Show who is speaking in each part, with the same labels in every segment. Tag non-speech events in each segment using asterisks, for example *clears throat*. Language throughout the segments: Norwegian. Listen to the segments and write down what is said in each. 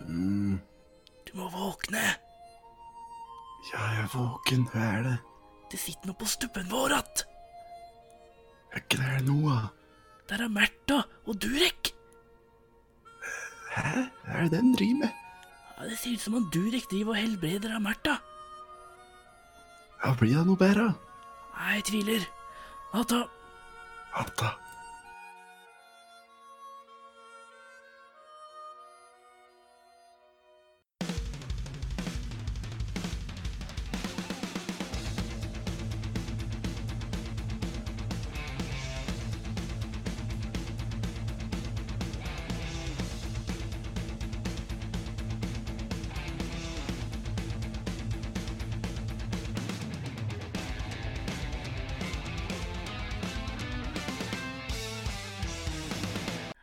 Speaker 1: Mm. våken, hva er det?
Speaker 2: Det sitter noe på stubben vår att.
Speaker 1: Er ikke det her noe?
Speaker 2: Der er Märtha og Durek.
Speaker 1: Hæ? Hva er det den driver med?
Speaker 2: Ja, det ser ut som han Durek driver og helbreder av Märtha.
Speaker 1: Ja, blir det noe bedre?
Speaker 2: Nei, Jeg tviler. Atta,
Speaker 1: Atta.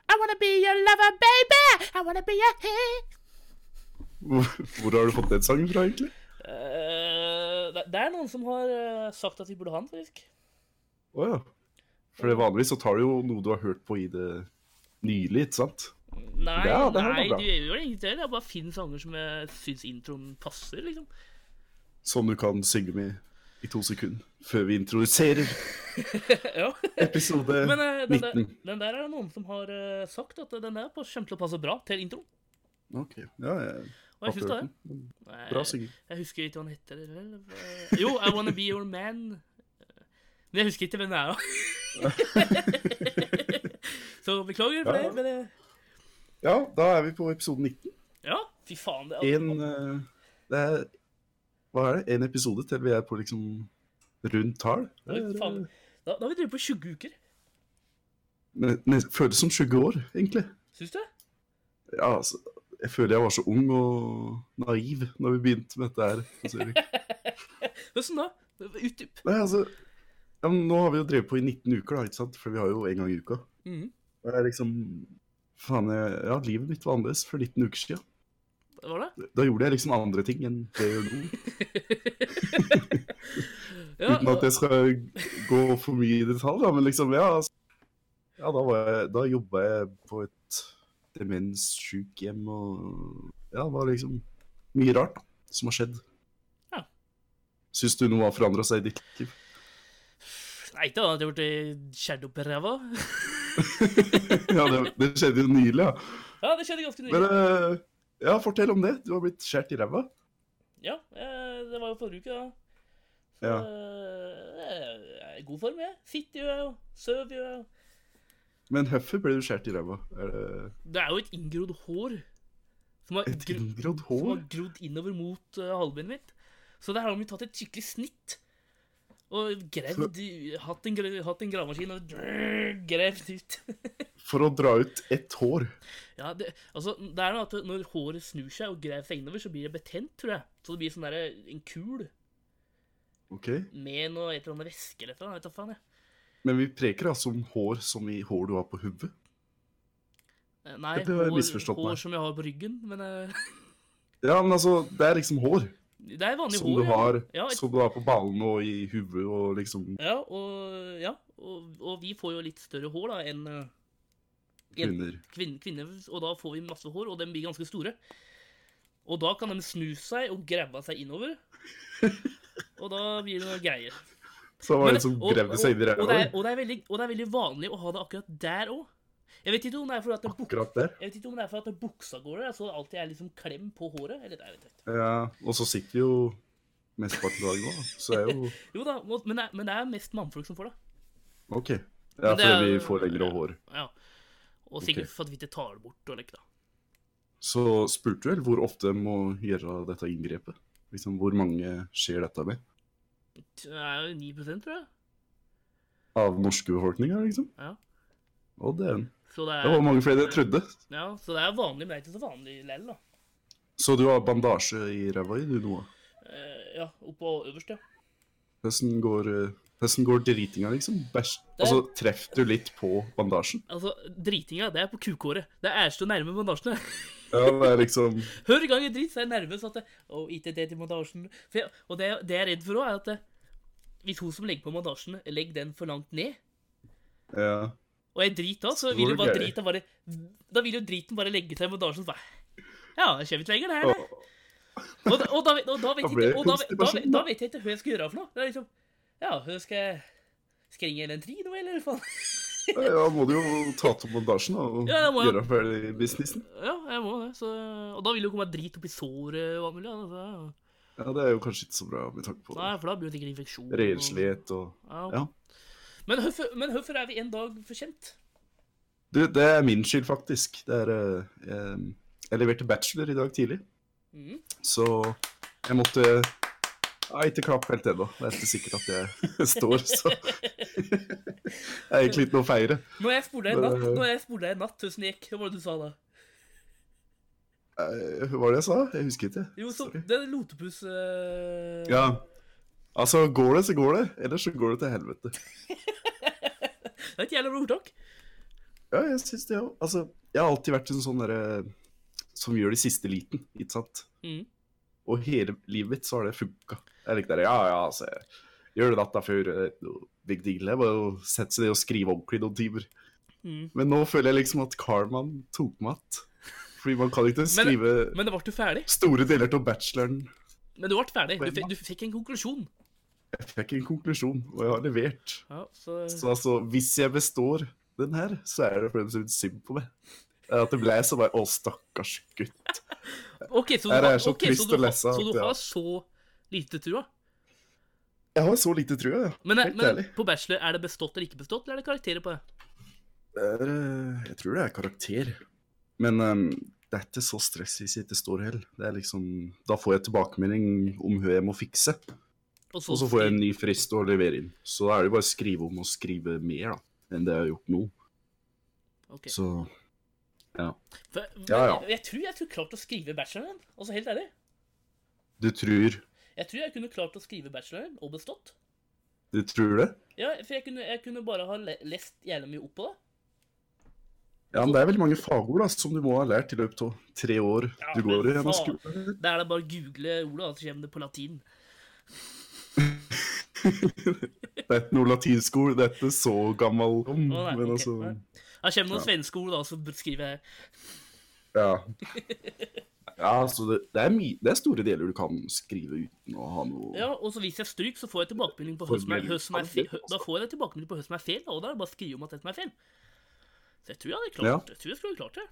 Speaker 3: I wanna be your lover, baby. I wanna be your hey.
Speaker 1: Hvor, hvor har du fått den sangen fra, egentlig?
Speaker 2: Eh, det det er noen som har eh, sagt at vi burde ha den, faktisk.
Speaker 1: Å ja. For det vanligvis så tar du jo noe du har hørt på i det nylig, ikke sant?
Speaker 2: Nei,
Speaker 1: Ja, det her var
Speaker 2: nei
Speaker 1: bra.
Speaker 2: du gjør ingenting til. Jeg bare finner sanger som jeg syns introen passer, liksom.
Speaker 1: Som du kan synge med i to sekunder før vi introduserer
Speaker 2: ja.
Speaker 1: episode
Speaker 2: *laughs* Men eh, den, der,
Speaker 1: 19.
Speaker 2: den der er det noen som har eh, sagt at den der pas- kommer til å passe bra til introen.
Speaker 1: Ok, ja, jeg
Speaker 2: Og jeg syns det. Nei,
Speaker 1: Bra synging.
Speaker 2: Jeg husker ikke hva han heter. eller- Jo, I Wanna Be Your Man. Men jeg husker ikke hvem det er, da. *laughs* Så beklager for det.
Speaker 1: Ja.
Speaker 2: Men eh,
Speaker 1: Ja, da er vi på episode 19.
Speaker 2: ja, fy faen. Det er,
Speaker 1: En, eh, det er Hva er det? En episode til vi er på liksom rundt tall. Det
Speaker 2: Oi,
Speaker 1: er,
Speaker 2: faen. Da, da har vi drevet på 20 uker.
Speaker 1: eh, ne- ne- Føles som 20 år, egentlig.
Speaker 2: Syns du?
Speaker 1: Ja, altså, jeg føler jeg var så ung og naiv når vi begynte med dette her. Altså, Erik.
Speaker 2: Åssen sånn da? Utdyp.
Speaker 1: Nei, altså ja, men Nå har vi jo drevet på i 19 uker, da, ikke sant? For vi har jo en gang i uka.
Speaker 2: Mhm.
Speaker 1: Og jeg liksom Faen, jeg, ja, livet mitt var annerledes for 19 uker siden.
Speaker 2: Var det? *laughs*
Speaker 1: Da gjorde jeg liksom andre ting enn det jeg gjør nå.
Speaker 2: Ja,
Speaker 1: Uten at jeg skal gå for mye i detalj, da, men liksom, ja. Altså, ja, da, var jeg- da jobba jeg på et demenssykehjem og Ja, det var liksom mye rart da, som har skjedd.
Speaker 2: Ja.
Speaker 1: Syns du noe har forandra seg i ditt liv? *laughs*
Speaker 2: Nei, ikke annet at jeg har blitt skjært opp i ræva.
Speaker 1: ja, det, det skjedde jo nylig, ja.
Speaker 2: Ja, det skjedde ganske
Speaker 1: Men
Speaker 2: nylig.
Speaker 1: eh, ja, fortell om det. Du har blitt skåret i ræva.
Speaker 2: Ja, eh, det var jo forrige uke, da. Så
Speaker 1: Ja.
Speaker 2: eh, jeg er i god form, jeg. Sitter jo, jeg. og Sover jo, jeg.
Speaker 1: Men hvorfor ble du skåret i ræva? Er det
Speaker 2: Det er jo et inngrodd hår som har,
Speaker 1: et
Speaker 2: gro
Speaker 1: inngrodd
Speaker 2: som
Speaker 1: hår?
Speaker 2: har grodd innover mot uh, halvbeinet mitt. Så der har de jo tatt et skikkelig snitt. Og gravd i- Hatt en, gra- hatt en gravemaskin og gravd ut. *laughs*
Speaker 1: For å dra ut ett hår.
Speaker 2: Ja, det, altså, det er noe at når håret snur seg og graver seg innover, så blir det betent, tror jeg. Så det blir sånn der, en kul
Speaker 1: Ok?
Speaker 2: med noe et eller annet væske eller et eller annet. Vet du faen, jeg.
Speaker 1: Men vi preker altså om hår som i hår du har på hodet.
Speaker 2: Eh, Nei,
Speaker 1: Dette har jeg misforstått
Speaker 2: hår,
Speaker 1: meg.
Speaker 2: hår som jeg har på ryggen, men eh, *laughs*
Speaker 1: Ja, men altså, det er liksom hår
Speaker 2: det er vanlig
Speaker 1: som
Speaker 2: hår.
Speaker 1: du har,
Speaker 2: Ja, ja, et,
Speaker 1: som du har på ballen og i hodet og liksom
Speaker 2: ja, og, ja og, og vi får jo litt større hår da enn eh, en-
Speaker 1: under.
Speaker 2: kvin, kvinner, og da får vi masse hår, og de blir ganske store. Og da kan de snu seg og grabbe seg innover, og da blir det noe
Speaker 1: *laughs*
Speaker 2: greier.
Speaker 1: Så det var
Speaker 2: Men-
Speaker 1: en som
Speaker 2: og-
Speaker 1: gravde seg inn i
Speaker 2: og- og det er-
Speaker 1: ræva.
Speaker 2: Og det er veldig- og det er veldig vanlig å ha det akkurat der òg. Jeg vet ikke om det er fordi at, det buk-
Speaker 1: Akkurat der.
Speaker 2: jeg vet ikke om det er fordi at det buksa går der, så det alltid er liksom klem på håret. Eller det er litt
Speaker 1: Ja, og så sitter vi jo mesteparten av dagen nå, da. så
Speaker 2: *laughs*
Speaker 1: det er jo
Speaker 2: Jo da, må- men det, er- men det er mest mannfolk som får det.
Speaker 1: OK. Ja,
Speaker 2: Men det
Speaker 1: fordi
Speaker 2: er-
Speaker 1: vi får lengre hår.
Speaker 2: Ja. Og sikkert
Speaker 1: Ok.
Speaker 2: for at vi ikke tar det bort og lekk, da.
Speaker 1: Så spurte du vel hvor ofte de må gjøre dette inngrepet? Liksom, Hvor mange skjer dette med?
Speaker 2: Det er jo 9 tror jeg.
Speaker 1: Av norske befolkninger, liksom?
Speaker 2: Ja.
Speaker 1: Og det,
Speaker 2: Så det
Speaker 1: det var
Speaker 2: er,
Speaker 1: mange flere enn jeg trodde.
Speaker 2: ja, så det er vanlig, men det er ikke så vanlig lell, da.
Speaker 1: Så du har bandasje i ræva i, du, Noah.
Speaker 2: Eh, Ja, oppå øverst, ja.
Speaker 1: Hvordan går, eh, hvordan går dritinga, liksom? Bæsj.
Speaker 2: Det-
Speaker 1: Altså, treffer du litt på bandasjen?
Speaker 2: Altså, dritinga, det er på kukhåret. Det er så nærme *laughs* bandasjene.
Speaker 1: Ja, det er liksom
Speaker 2: Hver gang jeg driter, så er jeg nervøs at det, Å, ikke det til mandasjen. For jeg, og det, det jeg er redd for òg, er at eh, hvis hun som legger på mandasjen, legger den for langt ned,
Speaker 1: Ja.
Speaker 2: og jeg driter da, så vil jo
Speaker 1: Stor
Speaker 2: bare
Speaker 1: greie.
Speaker 2: driten bare Da vil jo driten bare legge seg i mandasjen og bare Ja, jeg kommer ikke lenger, det her. det.
Speaker 1: Å,
Speaker 2: Og da, og da, vet- og da, vet,
Speaker 1: Da
Speaker 2: jeg ikke,
Speaker 1: blir det
Speaker 2: og da, vet- da, vet-
Speaker 1: konstipasjon,
Speaker 2: da
Speaker 1: da.
Speaker 2: vet jeg ikke hva jeg skal gjøre for noe. Det er liksom, ja, skal jeg, skal jeg ringe Ellen Tri nå, eller faen?
Speaker 1: Ja, må du jo ta til montasjen og
Speaker 2: Ja, det må jeg.
Speaker 1: gjøre ferdig businessen.
Speaker 2: *laughs* Ja, jeg må det. Så, og da vil det jo komme drit opp i såret og alt mulig. Altså.
Speaker 1: Ja, det er jo kanskje ikke så bra med tanke på
Speaker 2: Nei, for da blir det sikkert infeksjon. og-
Speaker 1: renslighet og
Speaker 2: Ja.
Speaker 1: Ja.
Speaker 2: Men hvorfor men hvorfor er vi en dag for sent?
Speaker 1: Du, det er min skyld, faktisk. Det er eh, jeg, jeg leverte bachelor i dag tidlig,
Speaker 2: Mhm.
Speaker 1: så jeg måtte Jeg har ikke klapp helt ennå. Det er ikke sikkert at jeg *laughs* står,
Speaker 2: *laughs*
Speaker 1: så Det er egentlig ikke noe å feire.
Speaker 2: Når jeg spurte deg i
Speaker 1: Men,
Speaker 2: natt,
Speaker 1: eh,
Speaker 2: når jeg spurte deg i natt hvordan det gikk, hva var det du sa da?
Speaker 1: Eh, Hva var det jeg sa? Jeg husker ikke.
Speaker 2: Jo, så,
Speaker 1: Sorry.
Speaker 2: det er lotepus... eh,
Speaker 1: Ja. Altså, går det, så går det. Ellers så går det til helvete.
Speaker 2: *laughs* Det er et jævla bra ordtak.
Speaker 1: Ja, jeg syns det òg. Altså, jeg har alltid vært en sånn derre som gjør det i siste liten, ikke sant?
Speaker 2: Mhm.
Speaker 1: Og hele livet mitt så har det funka. Jeg likte det. Ja, ja, altså. jeg Gjør det dette før eh, no big deal. Det var jo å sette seg ned og skrive ordentlig noen timer.
Speaker 2: Mhm.
Speaker 1: Men nå føler jeg liksom at karmaen tok meg igjen. Fordi man kan ikke skrive
Speaker 2: Men det ble du ferdig.
Speaker 1: store deler av bacheloren.
Speaker 2: Men du ble ferdig. Du,
Speaker 1: På en
Speaker 2: fikk- du fikk en konklusjon.
Speaker 1: Jeg fikk en konklusjon, og jeg har levert.
Speaker 2: Ja, så...
Speaker 1: Så altså, hvis jeg består den her, så er det fordi de syns synd på meg. Det er At det ble så bare Å, stakkars gutt.
Speaker 2: Ok, så du,
Speaker 1: Her er
Speaker 2: har-
Speaker 1: så
Speaker 2: ok,
Speaker 1: trist
Speaker 2: så du,
Speaker 1: å
Speaker 2: har-
Speaker 1: lese
Speaker 2: Så
Speaker 1: at
Speaker 2: du
Speaker 1: jeg-
Speaker 2: har så lite trua.
Speaker 1: Jeg har så lite trua, ja.
Speaker 2: Men, eh,
Speaker 1: Helt
Speaker 2: men
Speaker 1: ærlig.
Speaker 2: på bachelor, er det bestått eller ikke bestått, eller er det karakterer på det?
Speaker 1: Det er, eh, jeg tror det er karakter. Men eh, det er ikke så stress hvis jeg ikke står heller. Det er liksom, da får jeg tilbakemelding om hva jeg må fikse, og så får jeg en ny frist å levere inn. Så da er det bare å skrive om og skrive mer da, enn det jeg har gjort nå.
Speaker 2: Ok.
Speaker 1: Så
Speaker 2: For,
Speaker 1: Ja, ja.
Speaker 2: Jeg, jeg tror jeg skulle klart å skrive bacheloren. Altså, helt ærlig.
Speaker 1: du tror,
Speaker 2: Jeg tror jeg kunne klart å skrive bacheloren og bestått.
Speaker 1: du tror det?
Speaker 2: Ja, for jeg kunne, jeg kunne bare ha le lest jævlig mye opp på det.
Speaker 1: Ja, men det er veldig mange fagord da, som du må ha lært i løpet av tre år
Speaker 2: Ja,
Speaker 1: du går
Speaker 2: men
Speaker 1: gjennom
Speaker 2: faen.
Speaker 1: skolen.
Speaker 2: Da er det bare å google ordet, og så kommer det på latin.
Speaker 1: Det er ikke noe latinskole, det er ikke så gammel.
Speaker 2: Å, nei,
Speaker 1: men
Speaker 2: ok,
Speaker 1: altså,
Speaker 2: nei. Da kommer det noen
Speaker 1: Ja.
Speaker 2: svenske ord, da, og så skriver jeg
Speaker 1: ja.
Speaker 2: *laughs*
Speaker 1: Ja, altså, det, det, er my det er store deler du kan skrive uten å ha noe...
Speaker 2: Ja, og så hvis jeg stryker, så får jeg tilbakemelding på hva som er, hva som er feil. Da
Speaker 1: altså?
Speaker 2: får jeg tilbakemelding på hva som er feil, og da er det bare å skrive om at det som er feil. Så jeg tror jeg hadde klart, jeg tror jeg skulle ha klart det.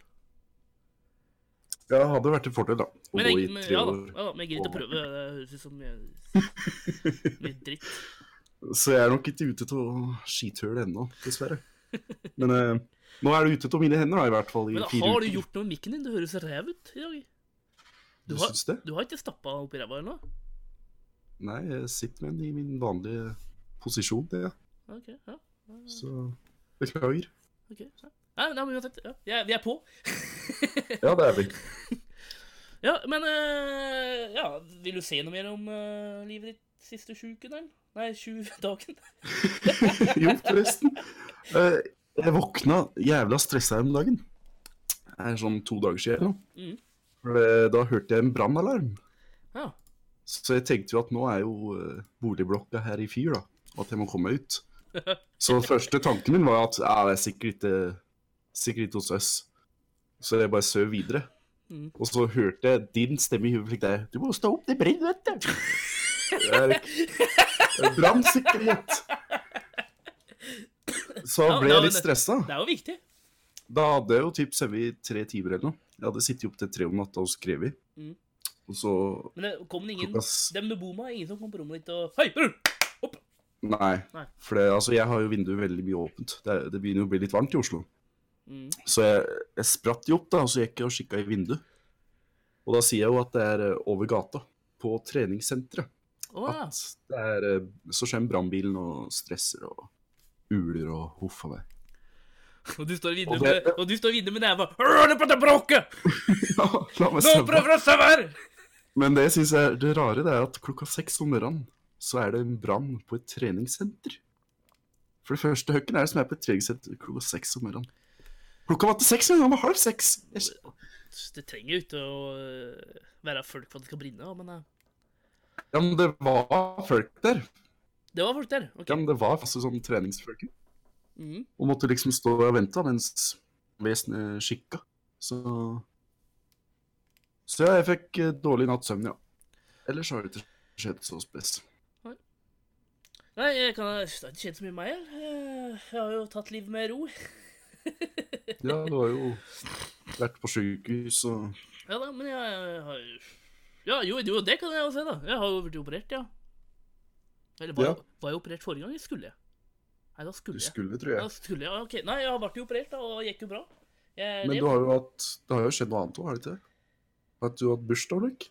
Speaker 1: Ja, hadde vært en fordel, da. Å
Speaker 2: Men
Speaker 1: gå
Speaker 2: jeg,
Speaker 1: i
Speaker 2: men,
Speaker 1: tre
Speaker 2: ja, da,
Speaker 1: år.
Speaker 2: ja da, men jeg gidder ikke å
Speaker 1: og-
Speaker 2: prøve. eh, Det høres ut som
Speaker 1: *laughs*
Speaker 2: jeg, mye dritt.
Speaker 1: Så jeg er nok ikke ute til skithøl ennå, dessverre. Men eh, nå er du ute til mine hender, da, i hvert fall i
Speaker 2: Men
Speaker 1: fire
Speaker 2: har
Speaker 1: uker.
Speaker 2: du gjort noe med mikken din? Det høres ræv ut i dag.
Speaker 1: Du
Speaker 2: har-
Speaker 1: syns det?
Speaker 2: Du har ikke stappa oppi ræva ennå?
Speaker 1: Nei, jeg sitter med den i min vanlige posisjon, det, ja.
Speaker 2: Ok, ja.
Speaker 1: Så
Speaker 2: *laughs*
Speaker 1: beklager.
Speaker 2: ok. Ja. Nei, nei, men uansett. Ja. jeg- Vi er på.
Speaker 1: Ja, det er vel
Speaker 2: Ja, men eh, ja, Vil du se noe mer om eh, livet ditt siste sju uken, eller? Nei, sju *laughs* dagen.
Speaker 1: *laughs* Jo, forresten. Eh, jeg våkna jævla stressa om dagen. Det er sånn to dager siden eller noe.
Speaker 2: Mm.
Speaker 1: For det- Da hørte jeg en brannalarm.
Speaker 2: Ja.
Speaker 1: Så jeg tenkte jo at nå er jo eh, boligblokka her i fyr, da. Og at jeg må komme
Speaker 2: *laughs*
Speaker 1: meg ut. Så første tanken min var at ja, det er sikkert ikke, sikkert ikke hos oss. Så jeg bare søv videre.
Speaker 2: Mm.
Speaker 1: Og så hørte jeg din stemme i huet fikk deg Du må stå opp, det
Speaker 2: *laughs*
Speaker 1: brenner, vet du. Det er det er Brannsikkerhet. Så
Speaker 2: Ja,
Speaker 1: ble
Speaker 2: ja,
Speaker 1: jeg litt
Speaker 2: det-
Speaker 1: stressa.
Speaker 2: Det er jo viktig.
Speaker 1: Da hadde jeg jo typ sovet i tre timer eller noe. Jeg hadde sittet opp til tre om natta og skrevet.
Speaker 2: Mm.
Speaker 1: Og så
Speaker 2: Men det kom det ingen
Speaker 1: klokka s-
Speaker 2: Dem du bor med, er ingen som kom på rommet ditt og Hei, bror!
Speaker 1: Nei.
Speaker 2: Nei.
Speaker 1: For det, altså, jeg har jo vinduet veldig mye åpent. Det, er- det begynner jo å bli litt varmt i Oslo.
Speaker 2: Mm.
Speaker 1: Så jeg, jeg spratt jo opp, da, og så gikk jeg og kikka i vinduet. Og da sier jeg jo at det er eh, over gata, på treningssenteret.
Speaker 2: Å ja.
Speaker 1: At det er eh, Så kommer brannbilen og stresser og uler og huff a meg. *laughs*
Speaker 2: Og du står i vinduet
Speaker 1: Og det-
Speaker 2: med, og du står i vinduet med neva Hør på det bråket!
Speaker 1: Ja, la meg
Speaker 2: Nå
Speaker 1: stemme.
Speaker 2: prøver jeg å sove her!
Speaker 1: Men det jeg synes er det rare, det er at klokka seks om morgenen så er det en brann på et treningssenter. For det første høkken er det som er på et treningssenter klokka seks om morgenen. Klokka var til seks, men den var halv seks. Jeg-
Speaker 2: Det trenger jo ikke å øh, være folk for at det skal brenne, da, men øh,
Speaker 1: Ja, men det var folk der.
Speaker 2: det var folk der. ok.
Speaker 1: Ja, men det var altså sånn treningsfolk.
Speaker 2: Mhm.
Speaker 1: Og måtte liksom stå og vente da, mens vesenet skikka. Så Så ja, jeg fikk eh, dårlig natts søvn, ja. Ellers har det ikke skjedd så spes.
Speaker 2: Nei, jeg kan, det har ikke skjedd så mye med meg. eller? Eh, Jeg har jo tatt livet med ro.
Speaker 1: Ja, du har jo vært på sykehus og
Speaker 2: Ja da, men jeg har Ja, jo, jo, det kan jeg jo se, da. Jeg har jo blitt operert, ja. Eller var,
Speaker 1: Ja.
Speaker 2: var jeg operert forrige gang? eller Skulle jeg? Nei, da
Speaker 1: Du
Speaker 2: skulle jeg.
Speaker 1: skulle, tror
Speaker 2: Ja,
Speaker 1: jeg.
Speaker 2: skulle jeg. ja, Ok, Nei, jeg ble jo operert, da, og det gikk jo bra. Jeg
Speaker 1: Men
Speaker 2: lever.
Speaker 1: du har jo hatt Det har jo skjedd noe annet òg, har det ikke? At du har hatt bursdag, Nick?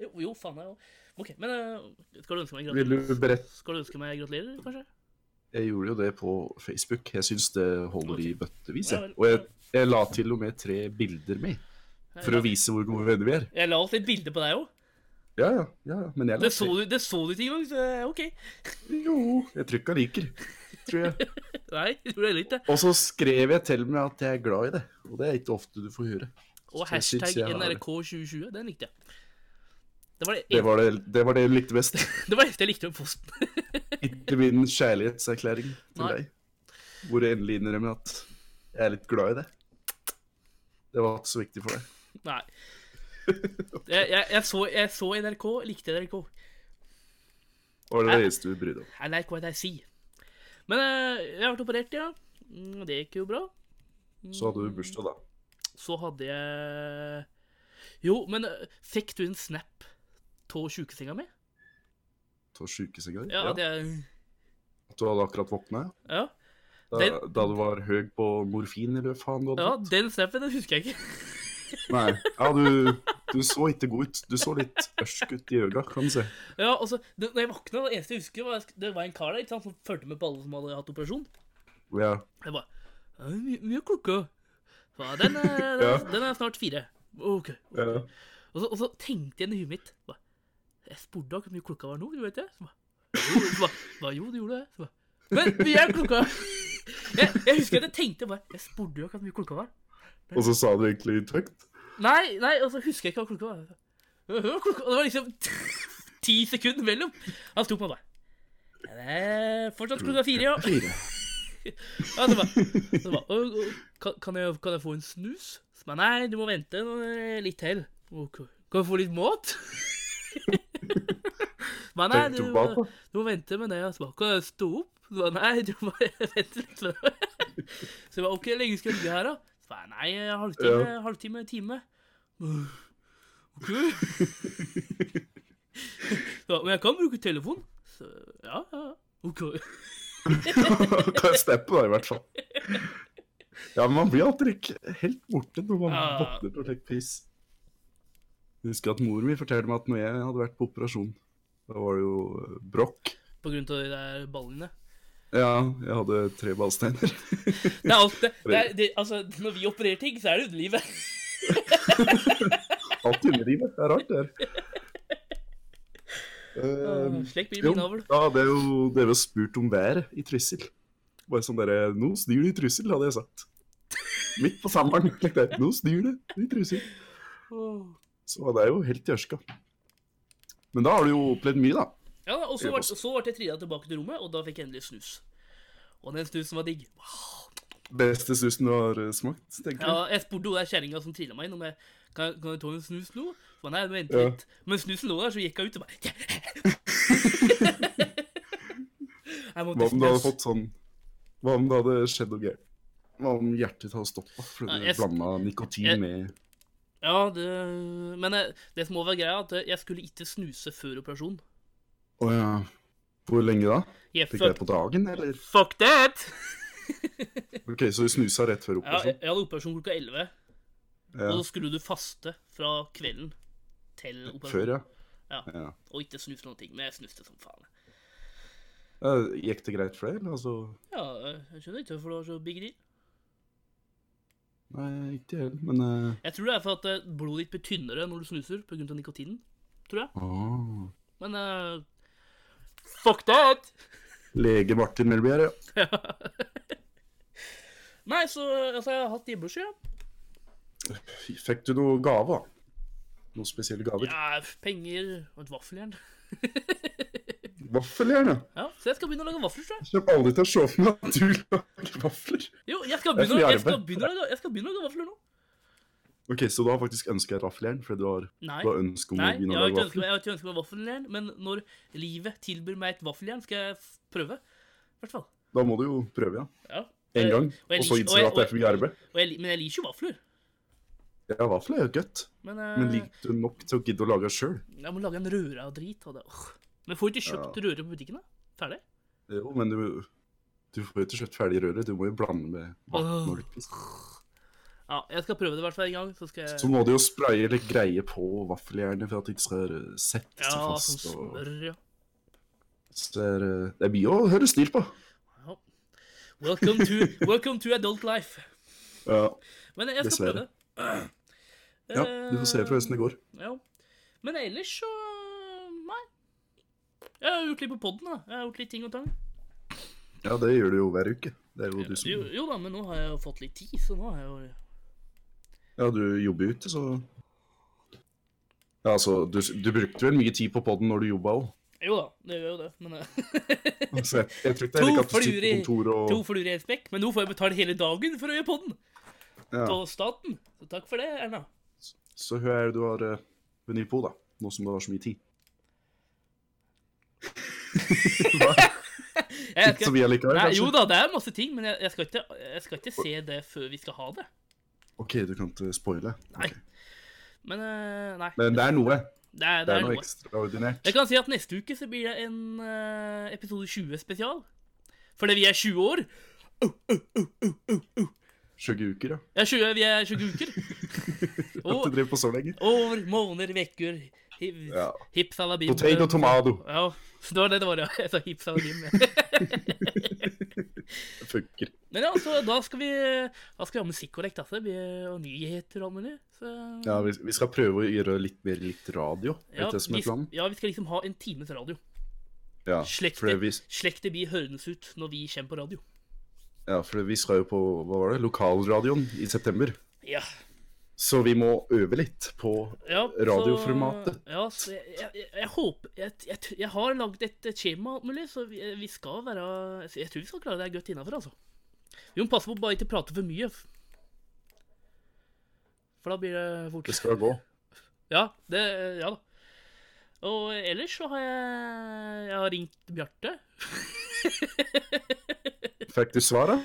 Speaker 2: Jo, jo faen jeg òg. OK, men eh, skal du ønske meg
Speaker 1: Vil du
Speaker 2: gratulerer?
Speaker 1: berette
Speaker 2: Skal du ønske meg gratulerer, kanskje?
Speaker 1: Jeg gjorde jo det på Facebook. Jeg syns det holder i bøttevis,
Speaker 2: Ja
Speaker 1: jeg.
Speaker 2: vel.
Speaker 1: Og jeg, jeg la til og med tre bilder med,
Speaker 2: Jeg
Speaker 1: for å
Speaker 2: la-
Speaker 1: vise hvor gode venner vi er.
Speaker 2: Jeg la oss et bilde på deg òg.
Speaker 1: Ja, ja. ja, ja. Men jeg la
Speaker 2: Det så
Speaker 1: til.
Speaker 2: du det så du ikke engang, så eh, OK.
Speaker 1: Jo, jeg tror ikke han liker, tror jeg.
Speaker 2: Nei, jeg tror heller ikke det. eh.
Speaker 1: Og så skrev jeg til meg at jeg er glad i det, og det er ikke ofte du får høre.
Speaker 2: Og
Speaker 1: Så jeg synes
Speaker 2: hashtag
Speaker 1: jeg har det.
Speaker 2: NRK2020, den likte jeg. Det var det,
Speaker 1: Det var det, det var det jeg likte best.
Speaker 2: det var det eneste jeg likte med posten.
Speaker 1: Ikke min kjærlighetserklæring til
Speaker 2: Nei.
Speaker 1: deg, hvor jeg endelig innrømmer at jeg er litt glad i det. Det var ikke så viktig for deg.
Speaker 2: *laughs* Nei. Jeg, jeg, jeg, så, jeg så NRK, likte NRK.
Speaker 1: Og det var det eneste du brydde deg om.
Speaker 2: I like what I see. Men eh, jeg ble operert, ja. Mm, Det gikk jo bra.
Speaker 1: Så hadde du bursdag, da.
Speaker 2: Så hadde jeg Jo, men eh, fikk du en snap av sjukesenga mi?
Speaker 1: Av sjukesenga di?
Speaker 2: Ja,
Speaker 1: Ja.
Speaker 2: det
Speaker 1: At du hadde akkurat våkna? Ja.
Speaker 2: Ja,
Speaker 1: Da,
Speaker 2: Den-
Speaker 1: da du var høy på morfin, eller hva faen du hadde
Speaker 2: ja
Speaker 1: fått?
Speaker 2: den snappen den husker jeg ikke. *laughs*
Speaker 1: Nei. Ja, du, du så ikke god ut. Du så litt ørsk ut i øynene, kan du si.
Speaker 2: Ja, altså, det, når jeg våkna, det eneste jeg husker, var det var en kar der ikke sant, som fulgte med på alle som hadde hatt operasjon.
Speaker 1: Ja.
Speaker 2: Jeg bare «Ja, Mye mye klokka. Ja, den, er, den,
Speaker 1: Ja.
Speaker 2: er, den er snart fire. OK.
Speaker 1: ja.
Speaker 2: Og så, og så tenkte jeg i huet mitt bare, Jeg spurte deg hvor mye klokka var nå, du vet det? Så bare, jo, så bare, «Hva, jo, du gjorde det. Så bare, Men vi er klokka jeg, jeg husker at jeg tenkte bare Jeg spurte deg hvor mye klokka var.
Speaker 1: Og så sa du egentlig litt høyt.
Speaker 2: Nei, nei, og så husker jeg ikke hva klokka var. «Hva var klokka?» Og det var liksom ti sekunder mellom. Han sto på meg bare «Ja, Det er fortsatt klokka fire, ja.
Speaker 1: Fire.
Speaker 2: Ja, så bare, så bare «Å, å, kan, kan, jeg, kan jeg få en snus? Så bare, nei, du må vente noe- eh, litt til. «Ok. Kan jeg få litt mat? *laughs* Så bare, nei, du,
Speaker 1: Tenkte du bak,
Speaker 2: må-
Speaker 1: da?
Speaker 2: du må vente med det. Så bare, kan jeg stå opp? Så bare, nei, du må *laughs* vente litt med det. Så jeg bare, ok, hvor lenge skal jeg ligge her da? Så bare, nei, en halvtime,
Speaker 1: Ja.
Speaker 2: halvtime, en time. Ok. *laughs* Så, bare, men jeg kan bruke telefon. Så, ja, ja, ja. ok.
Speaker 1: *laughs* kan jeg steppe, da, i hvert fall. Ja, men man blir alltid ikke helt borte når man
Speaker 2: Ja.
Speaker 1: våkner på slik pris. Jeg husker at mor mi fortalte meg at når jeg hadde vært på operasjon, da var det jo eh, brokk.
Speaker 2: På grunn av de der ballene.
Speaker 1: Ja, jeg hadde tre ballsteiner.
Speaker 2: Det er alt det, det, er, det altså, Når vi opererer ting, så er det underlivet.
Speaker 1: Alt underlivet. Det er rart, det her.
Speaker 2: Um, *laughs*
Speaker 1: Ehm,
Speaker 2: Slik blir
Speaker 1: jo,
Speaker 2: min avl.
Speaker 1: da hadde jeg jo dere spurt om været i Trysil. Bare sånn derre Nå snur det i Trysil, hadde jeg sagt. Midt på sommeren. *laughs* slik der, Nå snur det i Trysil. Så det er jo helt i ørska. Men da har du jo opplevd mye, da.
Speaker 2: Ja, og så ble, så ble jeg trilla tilbake til rommet, og da fikk jeg endelig snus. Og den snusen var digg.
Speaker 1: Beste susen du har eh, smakt, tenker jeg.
Speaker 2: Ja, jeg spurte hun der kjerringa som trilla meg inn, om jeg kan, kan jeg ta en snus nå. Så bare, nei, jeg må vente
Speaker 1: Ja.
Speaker 2: litt. Men snusen lå der, så gikk jeg ut og bare «Ja».
Speaker 1: *laughs*
Speaker 2: Jeg måtte
Speaker 1: Hva om du hadde
Speaker 2: snus.
Speaker 1: fått sånn Hva om det hadde skjedd noe gærent? Hva om hjertet hadde stoppa
Speaker 2: Ja,
Speaker 1: fordi
Speaker 2: jeg-
Speaker 1: du blanda nikotin
Speaker 2: jeg-
Speaker 1: med
Speaker 2: Ja, det, men eh, det som må være greia, er at jeg skulle ikke snuse før operasjon.
Speaker 1: Å ja. Hvor lenge da?
Speaker 2: Yeah,
Speaker 1: Fikk
Speaker 2: fuck,
Speaker 1: det på dagen, eller?
Speaker 2: fuck that!
Speaker 1: Ok, Så du snusa rett før
Speaker 2: Ja, jeg,
Speaker 1: operasjon?
Speaker 2: jeg hadde operasjon klokka 11,
Speaker 1: Ja,
Speaker 2: og så skulle du faste fra kvelden til operasjonen.
Speaker 1: Før, ja.
Speaker 2: Ja.
Speaker 1: ja.
Speaker 2: Og ikke snuse noen ting. Men jeg snuste som faen.
Speaker 1: Ja, Eh, Gikk det greit for deg, eller? Altså,
Speaker 2: Ja, jeg skjønner ikke hvorfor det var så big deal.
Speaker 1: nei, ikke jeg heller, men eh,
Speaker 2: Jeg tror det er for at eh, blodet ditt blir tynnere når du snuser pga. nikotinen. Tror jeg.
Speaker 1: åh.
Speaker 2: Men eh, Fuck that!
Speaker 1: Lege Martin Melby her, ja.
Speaker 2: Nei, så eh, altså, jeg har hatt hjemmebesøk. Ja.
Speaker 1: Fy, Fikk du noe gave? da? Noen spesielle gaver?
Speaker 2: Ja, penger og et vaffeljern.
Speaker 1: Vaffeljern, ja.
Speaker 2: Ja, så jeg skal begynne å lage vafler, tror jeg.
Speaker 1: Jeg kommer aldri til å se for meg at du lager vafler.
Speaker 2: Jo, jeg skal
Speaker 1: Det er
Speaker 2: begynne,
Speaker 1: så
Speaker 2: å-
Speaker 1: mye
Speaker 2: jeg skal
Speaker 1: arbeid.
Speaker 2: begynne, å, lage, jeg skal begynne å lage vafler nå.
Speaker 1: Ok, Så du har faktisk ønska raffeljern fordi du har,
Speaker 2: Nei.
Speaker 1: du har ønske om
Speaker 2: Nei,
Speaker 1: å begynne
Speaker 2: jeg
Speaker 1: å
Speaker 2: har ikke ønsket
Speaker 1: lage vaffel?
Speaker 2: meg, jeg har ikke ønsket meg vaffeljern, men når livet tilbyr meg et vaffeljern, skal jeg f- prøve. I hvert fall.
Speaker 1: Da må du jo prøve, ja.
Speaker 2: Ja.
Speaker 1: En gang.
Speaker 2: og jeg
Speaker 1: Og
Speaker 2: liker-
Speaker 1: så
Speaker 2: og
Speaker 1: innser
Speaker 2: jeg-
Speaker 1: du at det er for mye arbeid.
Speaker 2: Og jeg, li- men jeg liker jo vafler.
Speaker 1: Ja, vaffel er jo godt.
Speaker 2: Men, eh,
Speaker 1: Men liker du nok til å gidde å lage sjøl?
Speaker 2: jeg må lage en røre av drit. Og det. åh. Men får ikke kjøpt røre på butikken, da? Ferdig?
Speaker 1: Jo, men du, du får jo ikke kjøpt ferdig røret. Du må jo blande med vann. og litt.
Speaker 2: Ja, jeg skal prøve det i hvert fall en gang. Så skal jeg
Speaker 1: Så må du jo spraye litt greie på vaffeljernet for at det ikke skal eh, sette seg
Speaker 2: Ja, sånn som
Speaker 1: fast. Og...
Speaker 2: smør, ja.
Speaker 1: Så det, er, eh, det er mye å høre stil på.
Speaker 2: ja. Welcome to, welcome to adult life.
Speaker 1: Ja,
Speaker 2: Men jeg skal
Speaker 1: Dessverre.
Speaker 2: prøve. Eh,
Speaker 1: ja du får se forresten det går.
Speaker 2: Ja. Men ellers så Nei. Jeg har gjort litt på poden, da. Jeg har gjort litt ting og tang.
Speaker 1: Ja, det gjør du jo hver uke. Det er jo du
Speaker 2: Jo,
Speaker 1: som
Speaker 2: jo da, men nå har jeg jo fått litt tid, så nå har jeg jo
Speaker 1: Ja, du jobber jo ute, så Ja, altså, du, du brukte vel mye tid på poden når du jobba òg.
Speaker 2: Jo da, det gjør jo det, men eh,
Speaker 1: Så jeg, jeg tror ikke
Speaker 2: *laughs* To
Speaker 1: det er like at du sitter på
Speaker 2: fluer i-
Speaker 1: kontoret og
Speaker 2: To fluer i en smekk, men nå får jeg betale hele dagen for å gjøre podden.
Speaker 1: ja.
Speaker 2: Til staten. Så takk for det, Erna.
Speaker 1: Så hva er det du har eh, vunnet på, da? Nå som du har så mye tid? Hva?
Speaker 2: Jeg
Speaker 1: Ikke så
Speaker 2: skal,
Speaker 1: mye likevel,
Speaker 2: nei,
Speaker 1: kanskje?
Speaker 2: jo da, det er masse ting, men jeg, jeg, skal ikke, jeg skal ikke se det før vi skal ha det.
Speaker 1: OK, du kan ikke spoile.
Speaker 2: Nei.
Speaker 1: Ok.
Speaker 2: Men eh, nei.
Speaker 1: Men det er noe.
Speaker 2: Det er,
Speaker 1: Det er noe
Speaker 2: noe.
Speaker 1: ekstraordinært.
Speaker 2: Jeg kan si at neste uke så blir det en eh, episode 20 spesial. Fordi vi er 20 år.
Speaker 1: Skjøgge uker, ja.
Speaker 2: Ja, 20, vi er 20
Speaker 1: *laughs*
Speaker 2: uker.
Speaker 1: At
Speaker 2: Og
Speaker 1: du drev på så lenge.
Speaker 2: år, måneder, vekker. Hiv,
Speaker 1: Ja.
Speaker 2: Hip salabim.
Speaker 1: Potato tomato.
Speaker 2: Ja, *laughs* det var det det var, ja. Jeg sa hip salabim. ja.
Speaker 1: Det funker.
Speaker 2: Men ja, så da skal vi, da skal vi ha musikkorrekt, altså. Det blir- Og nyheter og alt mulig. Så...
Speaker 1: Ja, vi, vi skal prøve å gjøre litt mer litt radio.
Speaker 2: Ja,
Speaker 1: vet du det som
Speaker 2: vi,
Speaker 1: er planen?
Speaker 2: ja, vi skal liksom ha en times radio.
Speaker 1: Ja,
Speaker 2: Slekt
Speaker 1: for vi,
Speaker 2: det blir hørende ut når vi kommer på radio.
Speaker 1: ja, for vi skal jo på hva var det, lokalradioen i september.
Speaker 2: Ja.
Speaker 1: Så vi må øve litt på
Speaker 2: ja så-
Speaker 1: Radioformatet.
Speaker 2: Ja, så jeg, jeg, jeg, jeg håper Jeg, jeg, tr- jeg har lagd et et skjema og alt mulig, så vi, vi skal være så Jeg tror vi skal klare det godt innafor, altså. Vi må passe på å bare ikke prate for mye. For da blir det fort
Speaker 1: Det skal gå.
Speaker 2: Ja, det Ja da. Og ellers så har jeg Jeg har ringt Bjarte.
Speaker 1: Fikk du svar, da?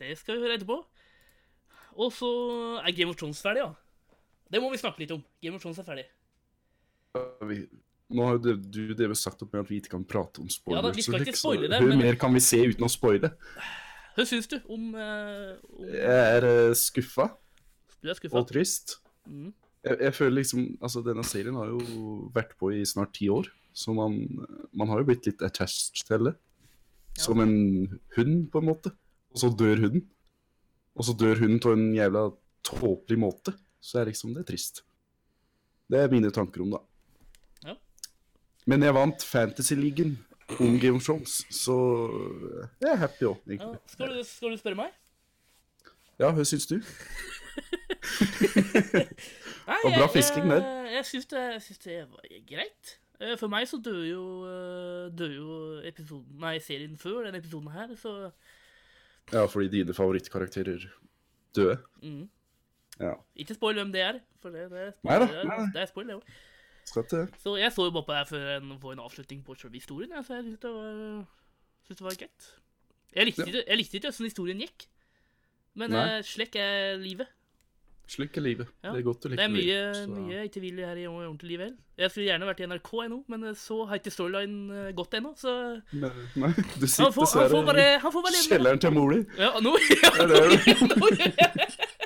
Speaker 2: Det skal vi høre etterpå. Og så er Game of Thrones ferdig, ja. Det må vi snakke litt om. Game of Thrones er ferdig.
Speaker 1: Vi, nå har jo det- du drevet sagt opp med at vi ikke kan prate om
Speaker 2: Ja
Speaker 1: spoilers.
Speaker 2: da, vi skal
Speaker 1: og
Speaker 2: ikke
Speaker 1: slik, så
Speaker 2: spoile det,
Speaker 1: Hvor
Speaker 2: men-
Speaker 1: mer kan vi se uten å spoile?
Speaker 2: Hva syns du om, eh, om
Speaker 1: Jeg er uh, skuffa
Speaker 2: Du er skuffa?
Speaker 1: og trist.
Speaker 2: Mm.
Speaker 1: Jeg, jeg føler liksom Altså, denne serien har jo vært på i snart ti år, så man, man har jo blitt litt attached til det. Som en hund, på en måte. Og så dør hunden. Og så dør hunden på en jævla tåpelig måte. Så er liksom det er trist. Det er mine tanker om det.
Speaker 2: Ja.
Speaker 1: Men jeg vant Fantasy-ligaen om Game of Thrones, så jeg er happy òg,
Speaker 2: Ja,
Speaker 1: egentlig.
Speaker 2: skal, du, skal du spørre meg?
Speaker 1: Ja, hva syns du?
Speaker 2: Nei,
Speaker 1: var bra fisking der.
Speaker 2: Jeg, jeg syns det, jeg syns det var greit. Eh, For meg så dør jo, eh, dør jo episoden, nei, serien før den episoden her, så
Speaker 1: Ja, fordi dine favorittkarakterer døde?
Speaker 2: mm.
Speaker 1: Ja.
Speaker 2: Ikke spoil hvem det er, for det, det er spoil,
Speaker 1: Neida,
Speaker 2: det er-
Speaker 1: neida.
Speaker 2: det er spoil, det òg.
Speaker 1: Skal til
Speaker 2: Så jeg så jo bare på det her for en, for en avslutning på selve historien, jeg, så jeg syns det var, synes det var greit. Jeg likte,
Speaker 1: Ja.
Speaker 2: ikke, jeg likte ikke hvordan historien gikk, men
Speaker 1: Nei.
Speaker 2: eh, slik er livet.
Speaker 1: Slik er livet.
Speaker 2: Ja,
Speaker 1: Det er godt å like
Speaker 2: Det er mye,
Speaker 1: livet, så-
Speaker 2: mye jeg ikke vil her i ordentlig liv heller. Jeg skulle gjerne vært i NRK ennå, men eh, så har ikke storyline eh, gått ennå, så
Speaker 1: Men, nei, du sitter
Speaker 2: han får, han får bare, han får bare
Speaker 1: i
Speaker 2: leve med det.
Speaker 1: kjelleren til mor di.
Speaker 2: Ja, nå, *laughs* ja,
Speaker 1: Ja,
Speaker 2: nå,
Speaker 1: det er det.
Speaker 2: nå, *laughs*